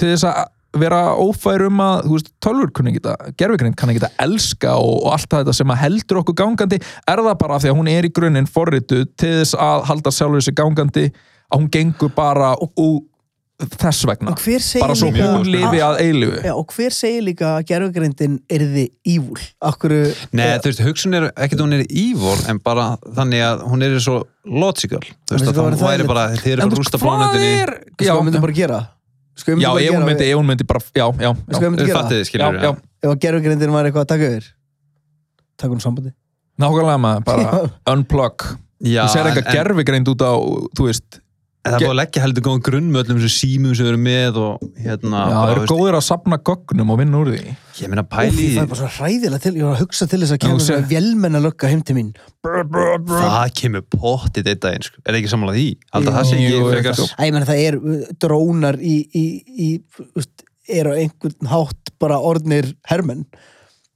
S1: til þess að vera ófær um að, þú veist, tölvur kunni geta gerfugrind kann ekki að elska og, og allt þetta sem að heldur okkur gangandi er það bara af því að hún er í grunninn forritu til þess að halda sjálfur þessi gangandi að hún gengur bara úr þess vegna
S2: og hver segir
S1: bara svo
S2: líka-
S1: hún lifi að eilfu
S2: Já, og hver segir líka að gerfugrindin erði ívúl? Akkur,
S3: nei, þú veist, hugsun er ekkert að hún er ívor en bara þannig að hún er svo logical, þú veist
S2: Veistu
S3: að
S2: hvað
S3: það
S2: væri
S3: væri
S2: þægilegt?
S3: bara, þið eru
S1: En
S3: að
S1: þú
S3: rústa
S1: veist, hvað
S3: plánutinni
S1: er
S2: sko,
S1: já,
S2: við myndum bara gera sko,
S1: já, ef hún myndi,
S2: ef
S1: ef hún myndi bara já, já, já,
S2: Sko, ef hún myndi
S3: Þið
S2: gera
S3: fattið þið, skilur
S1: já, já,
S2: að gerfugrindin var eitthvað að taka yfir taka hún sambandi
S1: nákvæmlega maður bara
S2: Já.
S1: unplug,
S3: Já,
S1: þú sér
S3: en-
S1: eitthvað
S3: en-
S1: gerfigreind út á þú veist,
S3: En það er búið að leggja heldur góðan grunn með öllum þessum símum sem við erum með og hérna,
S1: Já,
S3: bara,
S1: það eru
S3: veist,
S1: góðir að sapna gögnum og vinna úr því.
S3: ég meina
S2: Úf,
S3: pæli
S2: það er bara svo hræðilega til, ég var að hugsa til þess að kemur
S1: þú
S2: svona
S1: sér-
S2: vélmenna lögga heim til mín brr, brr, brr.
S3: það kemur pottið eitt daginn, sko. er það ekki sammála því? Alltaf það sé
S1: Jú,
S3: ég
S1: jú,
S3: frekar
S1: jú.
S2: Æ, ég menn það er uh, drónar í, í, í úst, er á einhvern hátt bara orðnir hermenn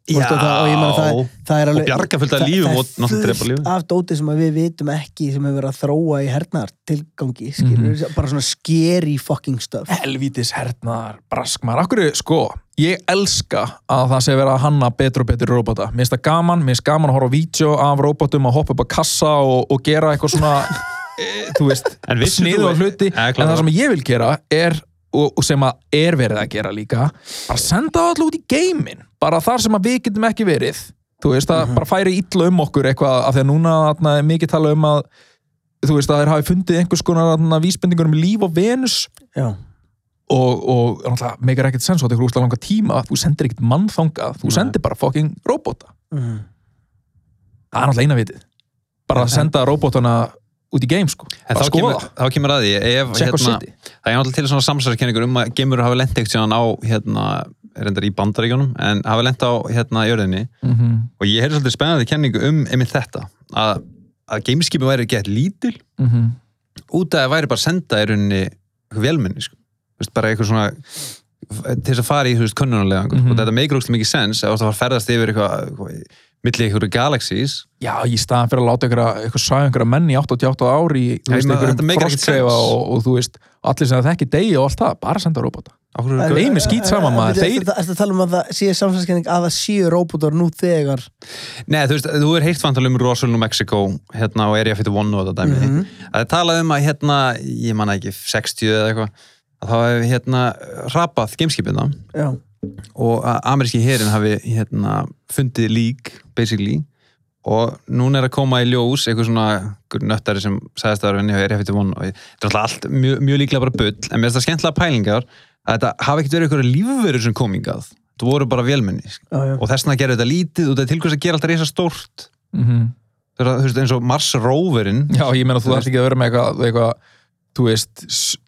S2: Þú veist, og það, og ég meina það, það er alveg
S3: Og bjarga fullt af
S2: það-
S3: lífum
S2: það er
S3: og náttúrulega drepa
S2: fullt
S3: lífum.
S2: af dóti sem að við vitum ekki sem hefur verið að þróa í hernar tilgangi skilur, bara svona scary fucking stuff
S1: Eh. Helvítis hernaðar, braskmar. Akkur, sko, ég elska að það sé verið að hanna betur og betur robota. Mér finnst það gaman, mér finnst gaman að horfa á vídeo af robotum að hoppa upp á kassa og, og gera eitthvað svona, e, þú veist,
S3: En vissir þú-
S1: sniðu á hluti.
S3: Ja,
S1: en það sem ég vil gera er, og, og sem að er verið að gera líka, bara senda það alltaf út í geiminn. Bara þar sem að við getum ekki verið. Þú veist, það bara færi illa um okkur eitthvað, af því að núna þarna, er mikið tala um að þú veist að þeir hafi fundið einhvers konar þarna, vísbendingur um líf á Venus
S2: já,
S1: og, og náttúrulega meikar ekkert sens og þetta er úrslega langa tíma þú sendir ekkert mann þangað, þú
S3: Nei.
S1: sendir bara fucking robota
S2: mm.
S1: það er náttúrulega eina vitið bara að senda robotana út í game sko
S3: En
S1: bara
S3: þá
S1: skoða
S3: kemur, þá kemur að því ef, hérna,
S1: það, check og city
S3: það er náttúrulega til svona samsæðiskenningur um að gemur hafa lent ekkert síðan á hérna, reyndar í bandaríkjónum en hafa lent á hérna jörðinni
S1: Mhm,
S3: og ég heyrði svolítið spennandi kenningu um einmitt þetta að, að geimskipi væri gett lítil
S1: mhm.
S3: út af að það væri bara að senda í rauninni eitthvað velmenni sko. Þú veist, bara eitthvað svona til þess að fara í þú veist, könnunarlega
S1: Mhm.
S3: og þetta meikir ógstlega mikið sens að þú átt að fara að ferðast yfir eitthvað, eitthvað milli eitthvað galaxís
S1: já, í staðan fyrir að láta einhverja eitthvað sæða einhverja menn í 88 ári í,
S3: Já,
S1: þú
S3: ég
S1: veist,
S3: meina, þetta
S1: einhverjum
S3: meikar ekkert
S1: frostsefa
S3: sens.
S1: og, og þú veist allir sem það ekki degi og allt það, bara senda robota
S3: okkur,
S1: Geim er skít saman, maður,
S2: þeir...
S1: þeir-
S2: Eh, Ertu ertu að tala um að það sé samsæðskenning að það séu róbótar nú þegar
S3: Nei, þú veist, þú er heilt vantal um Roswell og Mexico hérna og Area 51 og þetta dæmi
S2: Mhm.
S3: að það talað um að hérna, ég manna ekki 60 eða eitthvað að þá hefði hérna rapað gameskipina
S2: já,
S3: og að ameríski herin hafi hérna fundið lík, basically og núna er að koma í ljós eitthvað svona einhver nöttari sem sagðist að vera vinni og Area 51 og ég- þetta er alltaf allt mjög, mjög líklega bara bull en mér finnst það skemmtilega pælingar að þetta hafi ekkert verið eitthvað lífverður sem komingað þetta voru bara vélmenni
S2: já, já.
S3: og þess vegna gerðu þetta lítið og þetta er til hvers að gera alltaf reysa stórt
S1: mhm
S3: Þú veist, þú veist, eins og Mars Roverin
S1: Já, ég meina
S3: Þú
S1: þú þarft ekki að vera með eitthvað, eitthvað þú veist, s-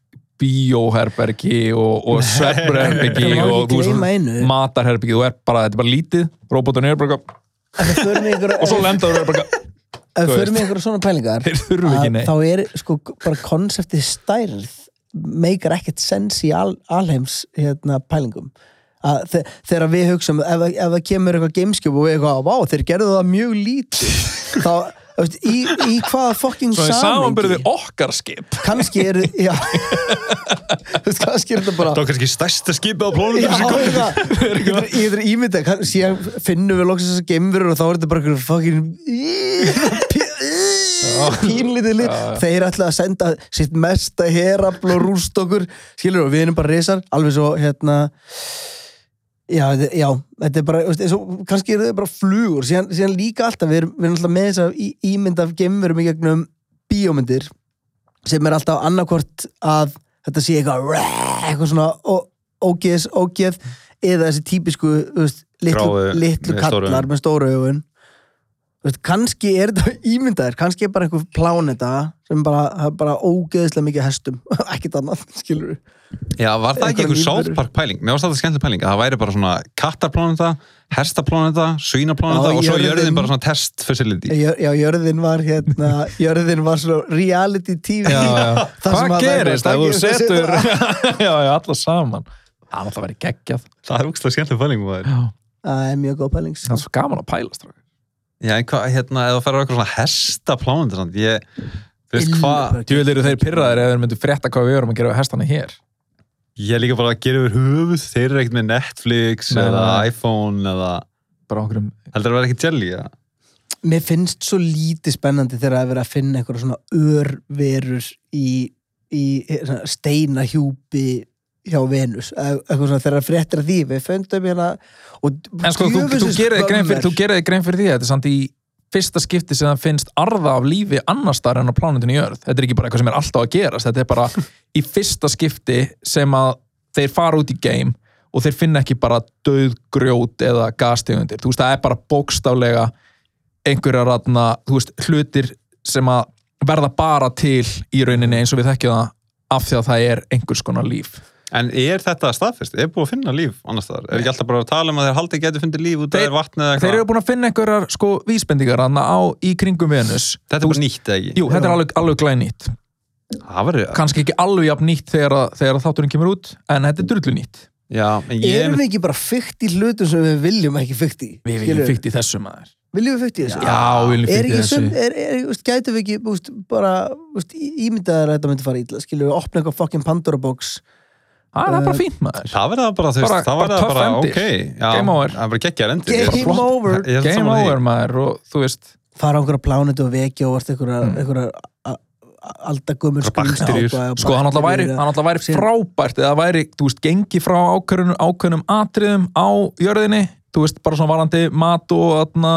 S1: bíóherbergi og, og svefnherbergi
S2: Það má
S1: og
S2: ekki
S1: þú
S2: gleyma einu.
S1: matarherbergi, þú er bara, þetta er bara lítið róbótan er bara, eitthvað-
S2: En það förum í einhverja-
S1: og svo lendaður er bara eitthvað-
S2: ef
S1: þú
S2: við förum í einhverja svona pælingar
S1: þeir þurfu ekki
S2: að
S1: neitt
S2: þá er sko bara konseptið stærð meikar ekkert sens í al, alheims hérna, pælingum að þe þegar við hugsaum ef, ef það kemur eitthvað gameskjöp og við eitthvað vá, þeir gerðu það mjög lítið þá, þú veist, í, í hvaða fucking
S1: Svo í
S2: samanbyrði
S1: samanbyrði okkar skip
S2: kannski er já, Þú veist, kannski er þetta bara
S3: Það var kannski stærsta skipi á plónum
S2: Já, það, ég er- ég er ímynda síðan finnum við loksins þessar geimverur og þá er þetta bara einhverjum fucking pínlítið lið þeir ætla að senda sitt mesta herafl og rúst okkur skilur og við erum bara risar alveg svo hérna já, þetta- já þetta er bara þú veist, eins og, kannski eru þau bara flugur síðan, síðan líka alltaf, við erum, við erum alltaf með þess að ímynda af geimverum í gegnum bíómyndir sem er alltaf annarkvort að þetta sé eitthvað rrrr, eitthvað svona ó- ógeðs, ógeð eða þessi típisku þú veist, litlu,
S3: Gráu
S2: litlu
S3: með stóru
S2: kallar
S3: augun.
S2: með stóru augun Þú veist, kannski er þetta ímyndaðir kannski er bara einhver pláneta sem bara, það er bara ógeðslega mikið af hestum ekkert annað, skilur við
S3: Já, var það ekki
S2: Einhverjum
S3: einhver South
S2: lífverur.
S3: Park pæling? Mér varst alltaf skemmtileg pæling að það væri bara svona kattarplónita, hestaplónita, svínaplónita
S2: Já,
S3: og svo
S2: jörðin-
S3: jörðin bara svona test facility
S2: Jör- Já, jörðin var hérna jörðin var svona reality TV
S1: Já, já.
S2: Þar sem
S1: Hvað
S2: að það er
S1: gerist
S2: bara-
S1: ef þú
S2: það gerist-
S1: setur Já, já, alla saman Það er alltaf verið geggjað
S3: Það er úkslega skemmtileg pæling maður.
S1: Já,
S2: Það er mjög góð pæling
S1: Það er svo gaman að pæla strákar.
S3: Já, en hvað, hérna, eða það ferur eitthvað svona hestaplónita samt, ég, þú veist
S2: Illu
S3: hvað
S2: bara.
S1: Djúvel eru þeir pyrraðir ef þeir myndu frétta hvað við erum að gera við hestana hér
S3: ég er líka bara að gera yfir höfuð, þeir eru ekkert með Netflix
S1: Nei,
S3: eða
S1: nei.
S3: iPhone eða,
S1: bara okkur um
S3: heldur það að vera ekki jelly, ja?
S2: Mér finnst svo lítið spennandi þegar að vera að finna einhverja svona örverur í, í steinahjúpi hjá Venus eða eitthvað svona þegar að fréttir að því við föndum hérna og
S1: En sko, þú, þú,
S2: djöfulsins
S1: gerir þér grein fyrir,
S2: skömm
S1: þú
S2: er-
S1: gerir þér grein fyrir því að þetta er samt í fyrsta skipti sem það finnst arða af lífi annars þar en á plánundinu í jörð. Þetta er ekki bara eitthvað sem er alltaf að gerast. Þetta er bara í fyrsta skipti sem að þeir fara út í game og þeir finna ekki bara döð grjót eða gastegundir. Þú veist, það er bara bókstaflega einhverja ratna, þú veist, hlutir sem að verða bara til í rauninni eins og við þekkjum það af því að það er einhvers konar líf
S3: En er þetta staðfest? Er búið að finna líf annars þar? Er ekki alltaf bara að tala um að þeir haldi getur fundið líf út af
S1: Þeir-
S3: þeir vatni eða
S1: Þeir
S3: eitthvað?
S1: eru búin að finna einhverjar sko vísbendingar hann á í kringum Venus
S3: Þetta er bara nýtt eða ekki?
S1: Jú, þetta er alveg, alveg glænýtt
S3: Það var
S1: kannski ekki alveg jafn nýtt þegar, að- þegar að þátturinn kemur út en þetta er drullu nýtt
S3: Já, en ég...
S2: Erum við ekki bara fykt í hlutum sem við viljum ekki fykt í?
S1: Við
S2: Skilurðu?
S1: viljum fyrkt í þessu maður
S2: Viljum við fykt í þessu?
S1: Já, við viljum fyrkt
S2: Er
S1: í
S2: ekki
S1: þessu
S2: sum, er, er, úst, gætu við ekki, úst, bara, úst, ímyndaður að þetta myndi fara illa, skilur við, opna eitthvað fucking Pandora box.
S1: Ha, Ah, Það er bara fínt maður
S3: Það verða bara, þú veist,
S1: Bara-
S3: það verða
S1: bara töff
S3: bara,
S1: endir.
S3: ok, já,
S1: Game over.
S3: það er bara geggjar endir.
S2: Game
S3: Ég er bara flott.
S2: over.
S3: Ég er
S1: Game
S3: saman því.
S1: over maður og þú veist
S2: Fara á einhverja plánetu og vekja og vart einhverja, mm. einhverja aldagumur
S3: bakteríur.
S1: Sko, hann alltaf væri, hann alltaf væri frábært eða væri, þú veist, gengi frá ákvörunum, ákvörunum atriðum á jörðinni þú veist, bara svona varandi mat og atna,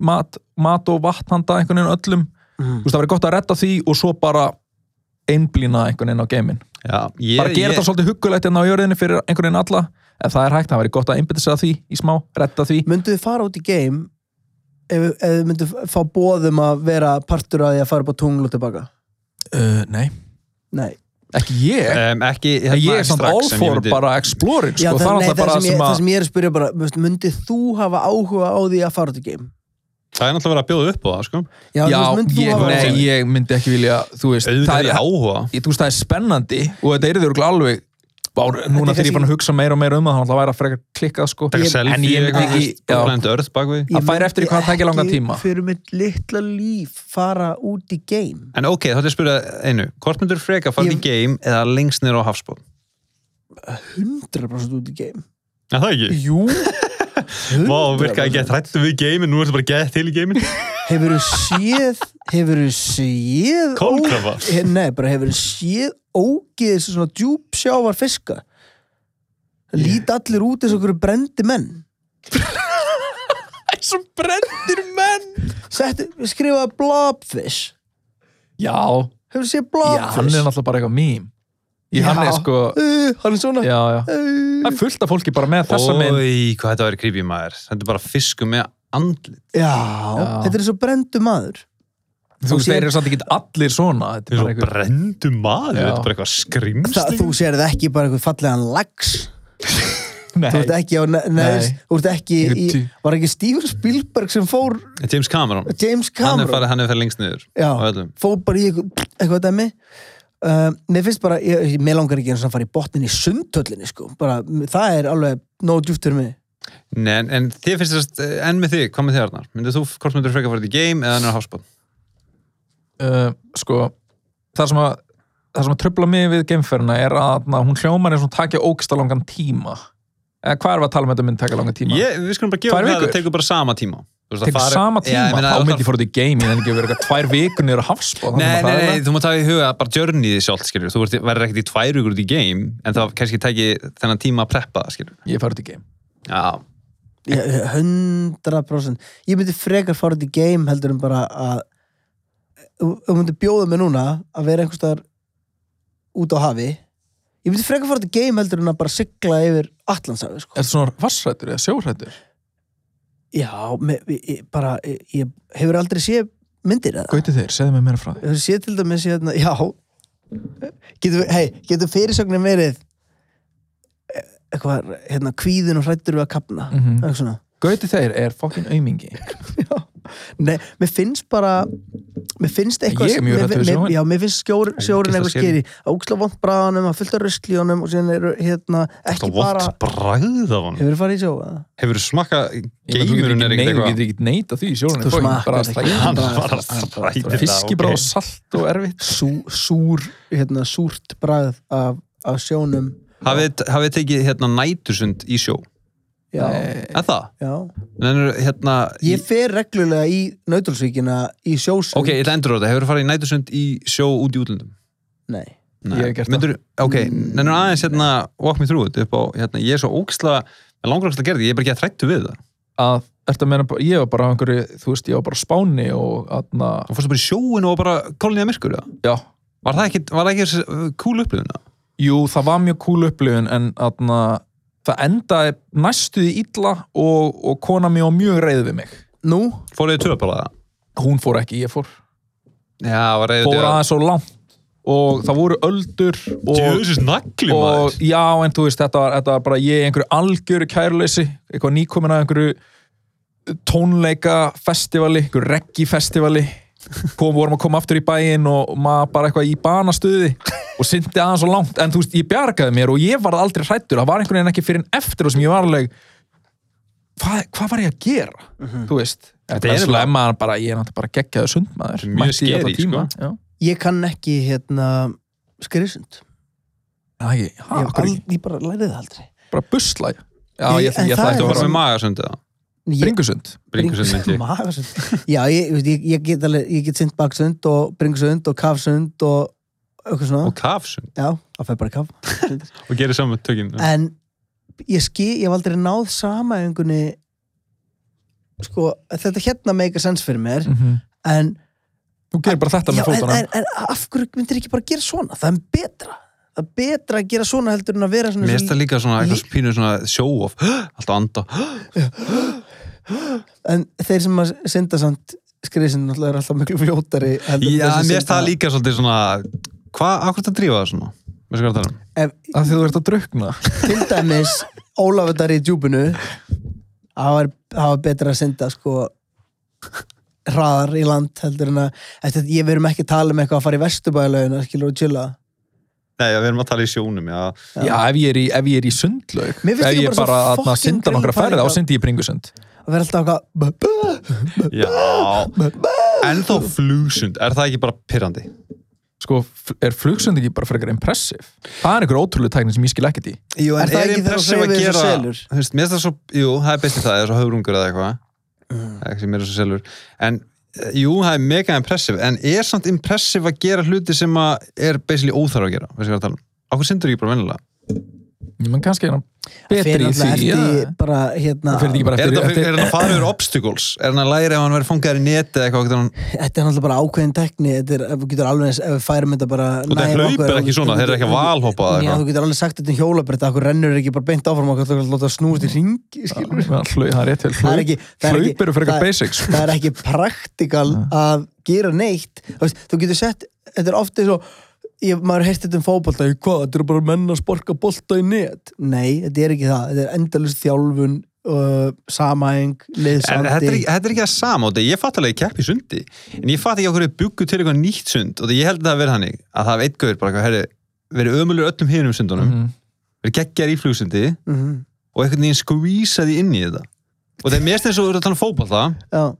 S1: mat, mat og vatn handa einhvern veginn öllum þú veist, það væri gott að redda því og svo bara einblína einhvern veginn á geiminn
S3: Já, ég,
S1: bara gera
S3: ég,
S1: þetta svolítið huggulegt hérna á jörðinni fyrir einhvern veginn alla en það er hægt, það væri gott að einbyrta sig að því í smá, redda því
S2: Myndu þið fara út í game ef, ef þið myndu fá bóðum að vera partur að því að fara upp á tungl og tilbaka?
S1: uh, Nei,
S2: Nei.
S1: ekki ég
S3: um, ekki,
S1: En
S3: hérna,
S1: ég er
S3: ekki
S1: samt all
S3: strax, en ég
S1: for
S3: myndi-
S1: bara exploring
S2: Já,
S1: sko,
S2: það,
S1: það er
S2: nei,
S1: alltaf
S2: það,
S1: bara
S2: sem ég,
S1: sem
S2: það
S1: að
S2: sem ég er að spyrja bara, veist, myndið þú hafa áhuga á því að fara út í game?
S3: Það er náttúrulega verið að bjóða upp á það, sko.
S2: Já,
S1: Já,
S2: þú veist, myndir
S1: ég,
S2: þú hafa
S1: nei, ég myndi ekki vilja þú veist,
S3: Auðvitað
S1: það
S3: er
S1: er,
S3: ég áhuga.
S1: ég, þú veist, það er spennandi og þetta er þurruglega alveg bár, núna þegar ég
S2: er kannski-
S1: er fann að hugsa meira og meira um það þannig að það væri að frekar klikkað sko
S3: Takk
S1: en
S3: selfie,
S1: ég myndi
S3: eitthvað,
S1: ekki
S3: veist,
S1: já,
S3: Planet Earth bakvið.
S1: Ég- það fær eftir í hvað það tæki langan tíma.
S2: Ég myndi ekki fyrir mitt litla líf fara út í game
S3: En ok, þá ætlum ég að spyrja einu. Hvort myndur freka fara í
S2: Ég-
S3: game eða lengst niður á hafsbóð?
S2: 100% út í game
S3: Já, það ekki.
S2: Jú
S3: Vá, virkaði gett hrættu við game, nú ertu bara gett til í game.
S2: Hefur þú séð Hefur þú séð
S3: Kolkrafa.
S2: ó- he- Nei, bara hefur þú séð ógeð þessu svona djúpsjávar fiska Það Lít allir út eins og okkur brendi menn
S1: sem brendir menn
S2: Settu, skrifaði blobfish
S1: já,
S2: Hefur þú
S1: já, hann
S2: séð
S1: er
S2: blobfish?
S1: náttúrulega bara eitthvað mím í
S2: Já.
S1: hann er sko
S2: Uh, hann er svona
S1: já, já.
S2: Uh,
S1: það er fullt af fólki bara með þessa mynd
S3: Ói, hvað þetta verið creepy maður. Þetta er bara fisku með andlit.
S2: Já,
S1: Já.
S2: þetta er svo brendu maður
S1: þú veist, þeir eru samt ekki allir svona þetta er
S3: Þetta
S1: bara
S3: er svo
S1: einhver
S3: brendu
S1: Já.
S3: maður, þetta er bara eitthvað
S2: Það,
S3: skrimsli.
S2: þú sérð ekki bara eitthvað fallegan lags Þú ert
S1: Nei,
S2: ekki á ne- neðst Þú ert ekki í,
S1: Ég-
S2: Var ekki Steven Spielberg sem fór
S3: James Cameron.
S2: James
S3: Hann er
S2: Cameron
S3: farið, hann er farið lengst niður.
S2: Já.
S3: Á öllum.
S2: Fór bara í eitthvað, eitthvað dæmi uh, Mér finnst bara ég, ég- Mér langar ekki einu sinni að fara í botnin í sundhöllinni sko. bara, m- Það er alveg nóg djúpt fyrir mig
S3: Nei, en, en þið finnst þess að, en með þig, hvað með þig Arnar? Myndið þú, hvort myndir þú frekar farið í game eða hann er hafsbóð?
S1: uh, sko það sem að það sem að tröfla mig við geimferðina er að na, hún hljómar eins og hún takja ógsta langan tíma eða hvað er að tala um þetta mynd taka langan tíma
S3: Ég, við skulum bara gefa
S1: Tvær
S3: okkur það,
S1: vikur?
S3: það tekur bara sama tíma. Þú veist, það
S1: tekur
S3: fari-
S1: sama tíma,
S3: ég meina,
S1: þá
S3: þú
S1: myndi ég
S3: þarf-
S1: fór út í game ég þenni ekki að vera eitthvað tvær vikur niður á hafsbóð
S3: Nei, nei, nei, þú má taka í huga bara journeyði sjálft, skilur. Þú verður- verður ekkert í tvær vikur út í game, en það kannski tæki þennan tíma að preppa, það, skilur.
S1: ég fær út í game
S3: Já,
S2: Ég- ég- 100% Ég myndi frekar fara út í game heldur en bara að Þú þú myndi bjóða mig núna að vera einhvers staðar út á hafi Ég myndi frekar fara út í game heldur en að bara sigla yfir Atlantshafi sko.
S1: er þetta svona vassrættur eða sjórættur
S2: Já, me, ég, bara, ég, ég hefur aldrei séð myndir eða?
S1: gauti þeir, segðu mig meira frá því
S2: Hefur séð til dæmis hérna, já getur, hey, getur fyrirsögnin verið eh, eitthvað, hérna, kvíðin og hrættur við að kapna
S1: Mhm.
S2: eitthvað svona
S1: gauti þeir er fokkin aumingi
S2: Nei, mér finnst bara mér finnst eitthvað
S1: Ég er mjög
S2: mér-
S1: hræddur við
S2: mér-
S1: sjóinn.
S2: Já, mér finnst sjór, sjórinn
S3: Ógeðslega
S2: eitthvað skeri Óksla vond bræðanum, að fylgta rusli í honum og síðan eru, hérna, ekki
S3: það vott
S2: bara
S3: bræð af hann.
S2: Hefur farið í sjó, eða?
S3: Hefur þú smakka geimurinn er ekkert
S1: þú
S3: eitthvað?
S1: getur ekki neita því í sjórættur
S2: Þú smakkar ekki.
S3: Hann
S2: Hann
S3: var að
S2: bara-
S3: þræta
S1: fiski bara á salt og erfitt
S2: Sú, súr, hérna, súrt bræð af, af sjónum
S3: Hafið hafið þið tekið hérna nætursund í sjó?
S2: Já,
S3: Er það?
S2: já
S3: Nenur, hérna,
S2: Ég fer reglulega í Nautilsvíkina í sjósund
S3: Ok, ég ætla að endur á þetta. Hefur þú farið í nætursund í sjó út í útlöndum?
S2: Nei
S1: Ég hef gert það. Mm.
S3: Myndur, ok, nennur aðeins hérna walk me through þetta upp á, hérna, ég er svo óksla með langar óksla að gera þetta, ég er bara ekki að trættu við það
S1: að ertu að meina, bara- ég var bara á einhverju, þú veist, ég var bara á spáni og aðna,
S3: og fórstu bara í sjóinu og bara kolniða myrkur eða?
S1: já
S3: var það ekki, var það ekki þessi, uh, cool upplifuna?
S1: jú, það var mjög cool upplifun en aðna, það endaði næstuði illa og, og kona mér var mjög reyð við mig
S2: Nú?
S3: Fóruðu töp bara það?
S1: hún fór ekki, ég fór
S3: Já, var reyðið
S1: fór aðeins svo langt og það voru öldur og,
S3: Djöðsins nagli
S1: og
S3: maður
S1: já, en þú veist, þetta var, þetta var bara ég í einhverju algjöru kæruleysi eitthvað nýkomin að einhverju tónleikafestivali einhverju reggifestivali kom, vorum að koma aftur í bæinn og maður bara eitthvað í banastuði og syndi aðeins svo langt, en þú veist, ég bjargaði mér og ég var aldrei hrættur, það var einhvern veginn ekki fyrir en eftir og sem ég var alveg hvað, hvað var ég að gera,
S2: Mhm.
S1: þú veist
S3: Þetta
S1: þetta
S3: er
S1: er
S3: nefnilega-
S1: slemma bara, ég er náttúrulega bara geggjaðu sundmaður
S3: Mjög
S1: mætti í alla
S3: scary, sko.
S1: tíma, já.
S2: Ég kann ekki hérna skriðsund.
S1: Já, ég, ha,
S2: Ég, hef
S1: af hverju
S2: al- Ah, ég bara lærið það aldrei.
S1: ekki? bara busla já, já
S2: Nei,
S1: ég,
S2: en
S1: ég, ég
S2: það
S1: ætla
S2: er
S1: ekki
S3: Þú
S1: að
S3: var
S1: fara
S3: með magasund eða?
S2: En Ég,
S1: bringusund
S3: Bringusund myndi ég
S2: Magasund. Já, ég, ég, veit, ég, ég get alveg, ég get synd baksund og bringsund og kafsund og eitthvað svona.
S3: Og kafsund
S2: Já, það fer bara í kaf.
S3: Og gerir saman tökinn
S2: En ég skil, ég hef aldrei náð sama einhvernig, sko, þetta hérna make a sense fyrir mér,
S1: Mhm.
S2: en
S1: þú gerir bara þetta
S2: Já,
S1: með
S2: en,
S1: fótunum
S2: en, en af hverju myndir ekki bara gera svona? Það er betra. Það er betra að gera svona heldur en að vera svona
S3: Mér finnst það líka svona eitthvað pínu svona show off Alltaf anda
S2: En þeir sem að synda samt skriðsinn náttúrulega er alltaf miklu fljótari heldur en
S3: Já,
S2: þeir
S3: mér
S2: sem
S3: finnst það
S2: synda-
S3: líka svolítið svona Hvað, akkur þetta drífa það svona? Veistu hvað það er? um?
S2: Ef,
S1: af því þú ert að drukna
S2: til dæmis Ólafur Darri í djúbunu það var, það var betra að synda sko hraðar í land heldur en að eftir, ég verum ekki að tala um eitthvað að fara í vesturbælaugina skilur og chilla
S3: Nei, já, við erum að tala í sjónum, já
S1: já, ef ég er í, ef ég er í sundlaug
S2: Mér finnst
S1: ef
S2: líka
S1: ég
S2: bara svo
S1: bara að
S2: fucking
S1: synda nokkra
S2: grillpælingar.
S1: færið á syndi ég í bringusund
S2: að vera alltaf eitthvað "Bú,
S3: Já, en þá flugsund, er það ekki bara pirrandi?
S1: sko, f- er flugsund ekki bara frekar impressiv það er einhver ótrúlega tækni sem ég skil ekkert í
S3: Jú,
S2: en Er það er ekki þegar impressive
S3: um
S2: þú að hreyfir þessu gera- selur?
S3: þú veist, mér er það svo, jú, það er bestið það, það er svo höfrungur eða eitthvað,
S2: Mm.
S3: það er ekki sem mér er svo selur, en eh, jú, það er mega impressive, en er samt impressive að gera hluti sem að er basically óþarf að gera, veistu hvað ég er að tala um? Akkur syndur ekki bara vennilega?
S1: ég menn kannski hérna
S2: fer
S1: betri í
S2: náttúrulega
S1: því já.
S2: eftir bara hérna
S1: Það fer ekki bara
S3: Er
S1: eftir-
S3: þetta- er
S1: eftir-
S3: hann að fara yfir obstacles? Er hann að læra ef hann verið fangar í neti eða eitthvað? getur hann-
S2: Þetta er náttúrulega bara ákveðin tekni Þetta er, ef þú getur alveg eins, ef við færum þetta bara
S3: Og það
S2: nær
S3: hlaup
S2: okkur,
S3: er ekki svona, þeir eru ekki að valhoppa eða
S2: Já,
S3: eitthvað.
S2: þú getur alveg sagt þetta um hjólabrett Akkur rennur ekki bara beint áfram okkur Það láta snúast í ringi, skilur
S1: Já, hlau- það er rétt
S2: Það er
S1: vel
S2: ekki-
S1: Hlaup-
S2: það er ekki-
S1: hlaup eru frekar
S2: það-
S1: basics
S2: Það er ekki praktikal að gera neitt Þú veist, Þú getur sett, þetta er ofta svo ég, maður heyrst þetta um fótbolta ég, hvað, þetta eru bara menn að sporka bolta í net Nei, þetta er ekki það, þetta er endalust þjálfun uh, samæng
S3: En þetta er,
S2: liðsandi
S3: ekki- þetta er ekki að sama og þetta, ég fatt alveg að ég kepp í sundi en ég fatt ekki okkur byggu til eitthvað nýtt sund og það ég held að það hafi verið hannig að það hafi eitt gaur bara eitthvað, herri, verið ömulur öllum hinum sundunum
S1: Mhm.
S3: verið geggjar í flugsundi
S2: Mhm,
S3: og einhvern veginn skvísaði inn í þetta og það er mest eins og við erum að tala um fótballta
S2: Já,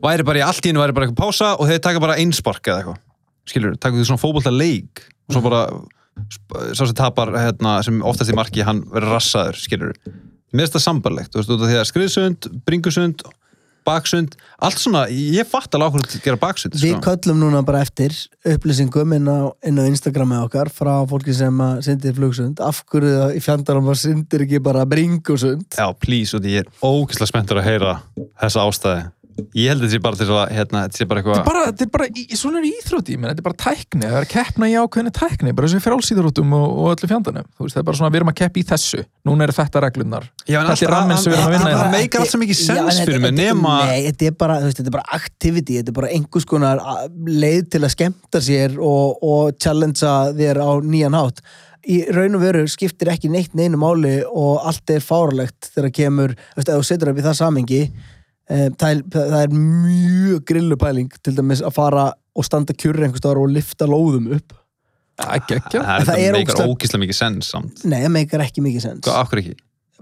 S3: væri bara í allt í hennu væri bara eitthvað pása og þeir taka bara einspark eða eitthvað skilur, taka því svona fótballta leik og svo bara sp- sá sem tapar hérna, sem oftast í marki hann verið rassaður skilur, mér finnst það sambarlegt þú veist, út af því að skriðsund, bringusund baksund, allt svona ég fatt alveg okkur að gera baksund
S2: við
S3: sko.
S2: köllum núna bara eftir upplýsingum inn á, inn á Instagramið okkar frá fólki sem að syndir flugsund af hverju það í fjandarum að syndir ekki bara bringusund
S3: já, please, og því ég er ógeðslega spenntur að heyra þessa ástæði ég held þetta sé bara til að, hérna, þetta sé bara
S1: Þetta er
S3: eitthvað
S1: bara, þetta er bara, í- svona er íþrótti, ég menn, þetta er bara tækni, það er að keppna í ákveðinu tækni, bara þessu frálsýðurótum og, og öllu fjandanum, þú veist, það er bara svona, við erum að keppa í þessu, núna eru þetta reglunar,
S3: Já,
S1: þetta er
S3: en alltaf-
S1: ramminn sem við erum að vinna
S3: Það
S1: hérna.
S3: bara meikar allt svo mikið
S2: Já, en
S3: sens
S2: þetta-
S3: fyrir mig,
S2: þetta-
S3: nema-
S2: Nei, þetta er bara, þú veist, þetta er bara activity Þetta er bara einhvers konar a- leið til að skemmta sér og, og challengea þér á nýjan hátt Í raun og veru skiptir ekki neitt neinu máli og allt er fárlegt þegar kemur, þú veist, ef þú setur upp í það samengi e, það, er, það er mjög grillupæling til dæmis að fara og standa kjurri einhvers staðar og lifta lóðum upp
S1: Það er geggja,
S3: það,
S2: það
S3: það
S2: er
S3: meikar
S2: ógeðslega-
S3: ógeðslega mikið sens samt,
S2: Nei, það meikar ekki mikið sens
S3: Hvað, af hverju ekki?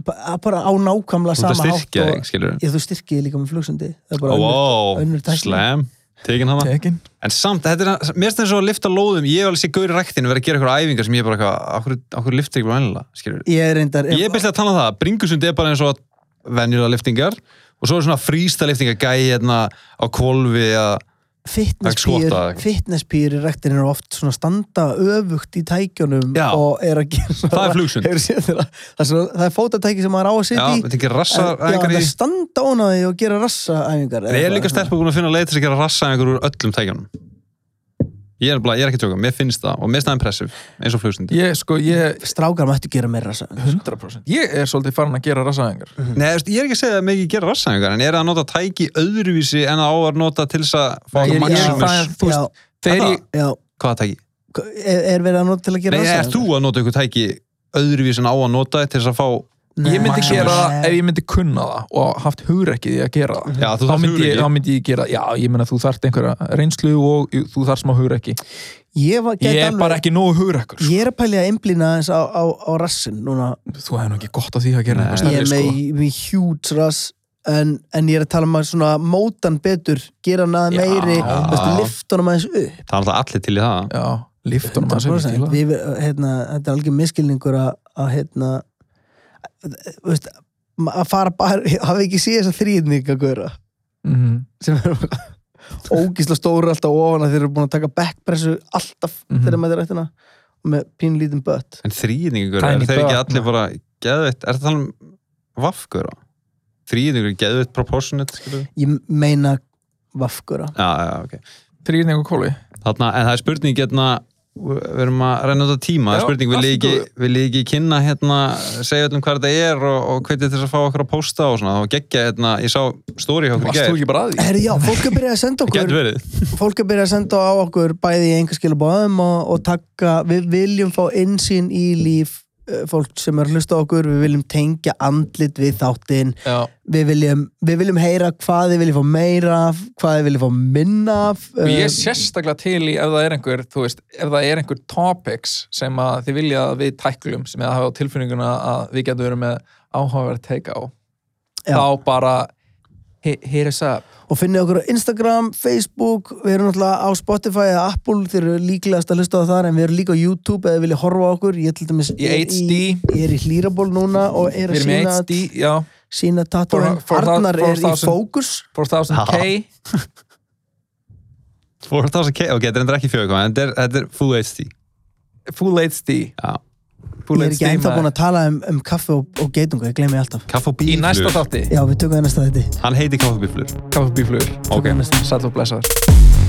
S2: Ba- bara á nákvæmlega
S3: Sko, Þú ert að
S2: sama hátt
S3: styrkja
S2: og,
S3: þig, skilur
S2: ég, þú styrkið líka með flugsundi Það er bara önnur-
S3: Ó,
S2: önnur tækni.
S3: slam tekin hana,
S1: tekin,
S3: en samt þetta er, mér finnst það eins og að lifta lóðum, ég hef alveg sé gaur í ræktinu verið að gera eitthvað æfingar sem ég er bara eitthvað, okkur, okkur lifta ekki bara vennilega, skilur
S2: Ég er reyndar
S3: ég er bestið að tala um það, bringusund er bara eins og venjulega liftingar og svo er svona frísta liftingar gæi hérna á kvolfi að, Ekki
S2: fitnesspýr
S3: skota eða eitthvað.
S2: fitnesspýr í rektin eru oft svona standa öfugt í tækjunum
S3: Já.
S2: og er að gera svona,
S3: Það er flugsund.
S2: Hefur séð þeirra- það, er svona, það er fótatæki sem maður á að
S3: já,
S2: sitja í
S3: þetta ekki
S2: en-
S3: rassar
S2: já,
S3: æfingar
S2: það
S3: í,
S2: er standa án að því og gera rassa æfingar
S3: en ég er líka stelpa búin að finna leið til þess að gera rassar æfingar úr öllum tækjanum Ég er, bara, ég er ekki tjóka, mér finnst það og mér finnst það impressive eins og flugstundi.
S1: Ég, sko, ég,
S2: strákar mættu gera meira þess að
S1: 100%, ég er svolítið farin að gera rassaðingar.
S3: Nei, þú veist, ég er ekki að segja að mig ekki gera rassæðingar en ég er að nota tæki öðruvísi en að á að nota til þess að fá
S1: Nei, ég- ég-
S3: maximus.
S1: það er- þú veist,
S2: já,
S1: Þegar
S3: Það-
S1: ég,
S2: já,
S3: Hvaða tæki?
S2: er, er verið að nota til að gera
S3: Nei, er þú að nota ykkur tæki öðruvísi en á að nota til þess að fá
S1: ég myndi
S3: Maximus.
S1: gera það ef ég myndi kunna það og haft hugrekkið í að gera það.
S3: Já, þú
S1: Þá
S3: þarf
S1: myndi, ég,
S3: hugrekki.
S1: þá myndi ég gera, já, ég meina þú þarft einhverja reynslu og þú þarft smá hugrekki.
S2: ég, var,
S1: Ég
S2: ég,
S1: er bara
S2: alveg,
S1: ekki nógu hugrekkur.
S2: ég er að pælja að einblýna aðeins á, á, á rassin núna
S1: Þú hefði nú ekki gott að því að gera
S3: Nei.
S1: eitthvað stærri,
S2: ég er
S1: sko.
S2: með, með huge rass en, en ég er að tala um að svona mótan betur, gera hann
S1: Já.
S2: aðeins meiri veist, lift honum aðeins upp
S3: Það er alltaf allir til í það.
S1: Já, liftunum að sem
S2: 100%
S1: ég til
S2: við, hérna, þetta er algjör miskilningur að, að hérna þú veist, að fara bara hafi ekki séð þess að þrýðninga góra
S1: Mhm.
S2: sem er ógísla stóru alltaf ofan að þeir eru búin að taka backpressu alltaf
S1: Mhm.
S2: þegar maður er rættina og með pínlítinn bött
S3: En þrýðningur,
S1: Tiny
S3: er þeir ekki
S1: button.
S3: allir bara geðveitt? Er það tala um vafkur á? Þrýðningur, geðveitt proportionate, skilur við?
S2: ég meina vafgura
S3: Já, já, ok.
S1: Þrýðning og kóli
S3: Þarna, en það er spurning hérna við erum að reyna út á tíma það er
S1: Já,
S3: spurning, vil
S1: allt í
S3: ég ekki,
S1: góðu.
S3: vil ég ekki kynna hérna, segja öllum hvað þetta er og, og hvernig þess að fá okkur að posta og svona, þá geggja hérna, ég sá stóri hjá okkur í
S1: Varst þú
S3: gær,
S1: ekki bara að því?
S2: Herri, já, fólk er byrjað að senda
S3: það getur
S2: okkur
S3: verið
S2: fólk er byrjað að senda á okkur bæði í einhver skilabóðum og, og taka, við viljum fá insýn í líf eh, fólk sem er að hlusta á okkur, við viljum tengja andlit við þáttinn
S1: Já,
S2: við viljum, við viljum heyra hvað þið viljum fá meira af, hvað þið viljum fá minna af
S1: og ég
S2: eh,
S1: er sérstaklega til í ef það er einhver, þú veist, ef það er einhver topics sem að þið vilja að við tæklum sem eða hafa á tilfinninguna að við getum verið með áhugaverð take á
S2: Já.
S1: þá bara he- hit us up
S2: og finnið okkur á Instagram, Facebook við erum náttúrulega á Spotify eða Apple þeir eru líklegast að hlusta á þar en við erum líka á YouTube eða vilja horfa á okkur ég, til dæmis,
S1: Í
S2: er
S1: HD.
S2: ég er í hlýraból núna og er
S1: við
S2: að
S1: erum í
S2: sína,
S1: 1D, já,
S2: sína tattúin
S1: For- for thou-
S2: Arnar
S1: for
S2: er í
S1: thousand.
S2: fókus
S1: 4000k
S3: og það sem kegja, ok, þetta er endur ekki fjögur en þetta er, þetta er full HD
S1: full HD
S3: Já.
S1: full
S2: ég er ekki
S1: HD
S2: ennþá
S1: maður.
S2: búin að tala um, um kaffe og, og geitungu, ég gleymi alltaf
S3: kaff og
S1: í næsta
S3: bíflur,
S1: þátti,
S2: já, við tökum það í næsta þetta
S3: hann heiti kaff og bíflur
S1: kaffibíflur
S3: ok,
S1: sæll og blessaður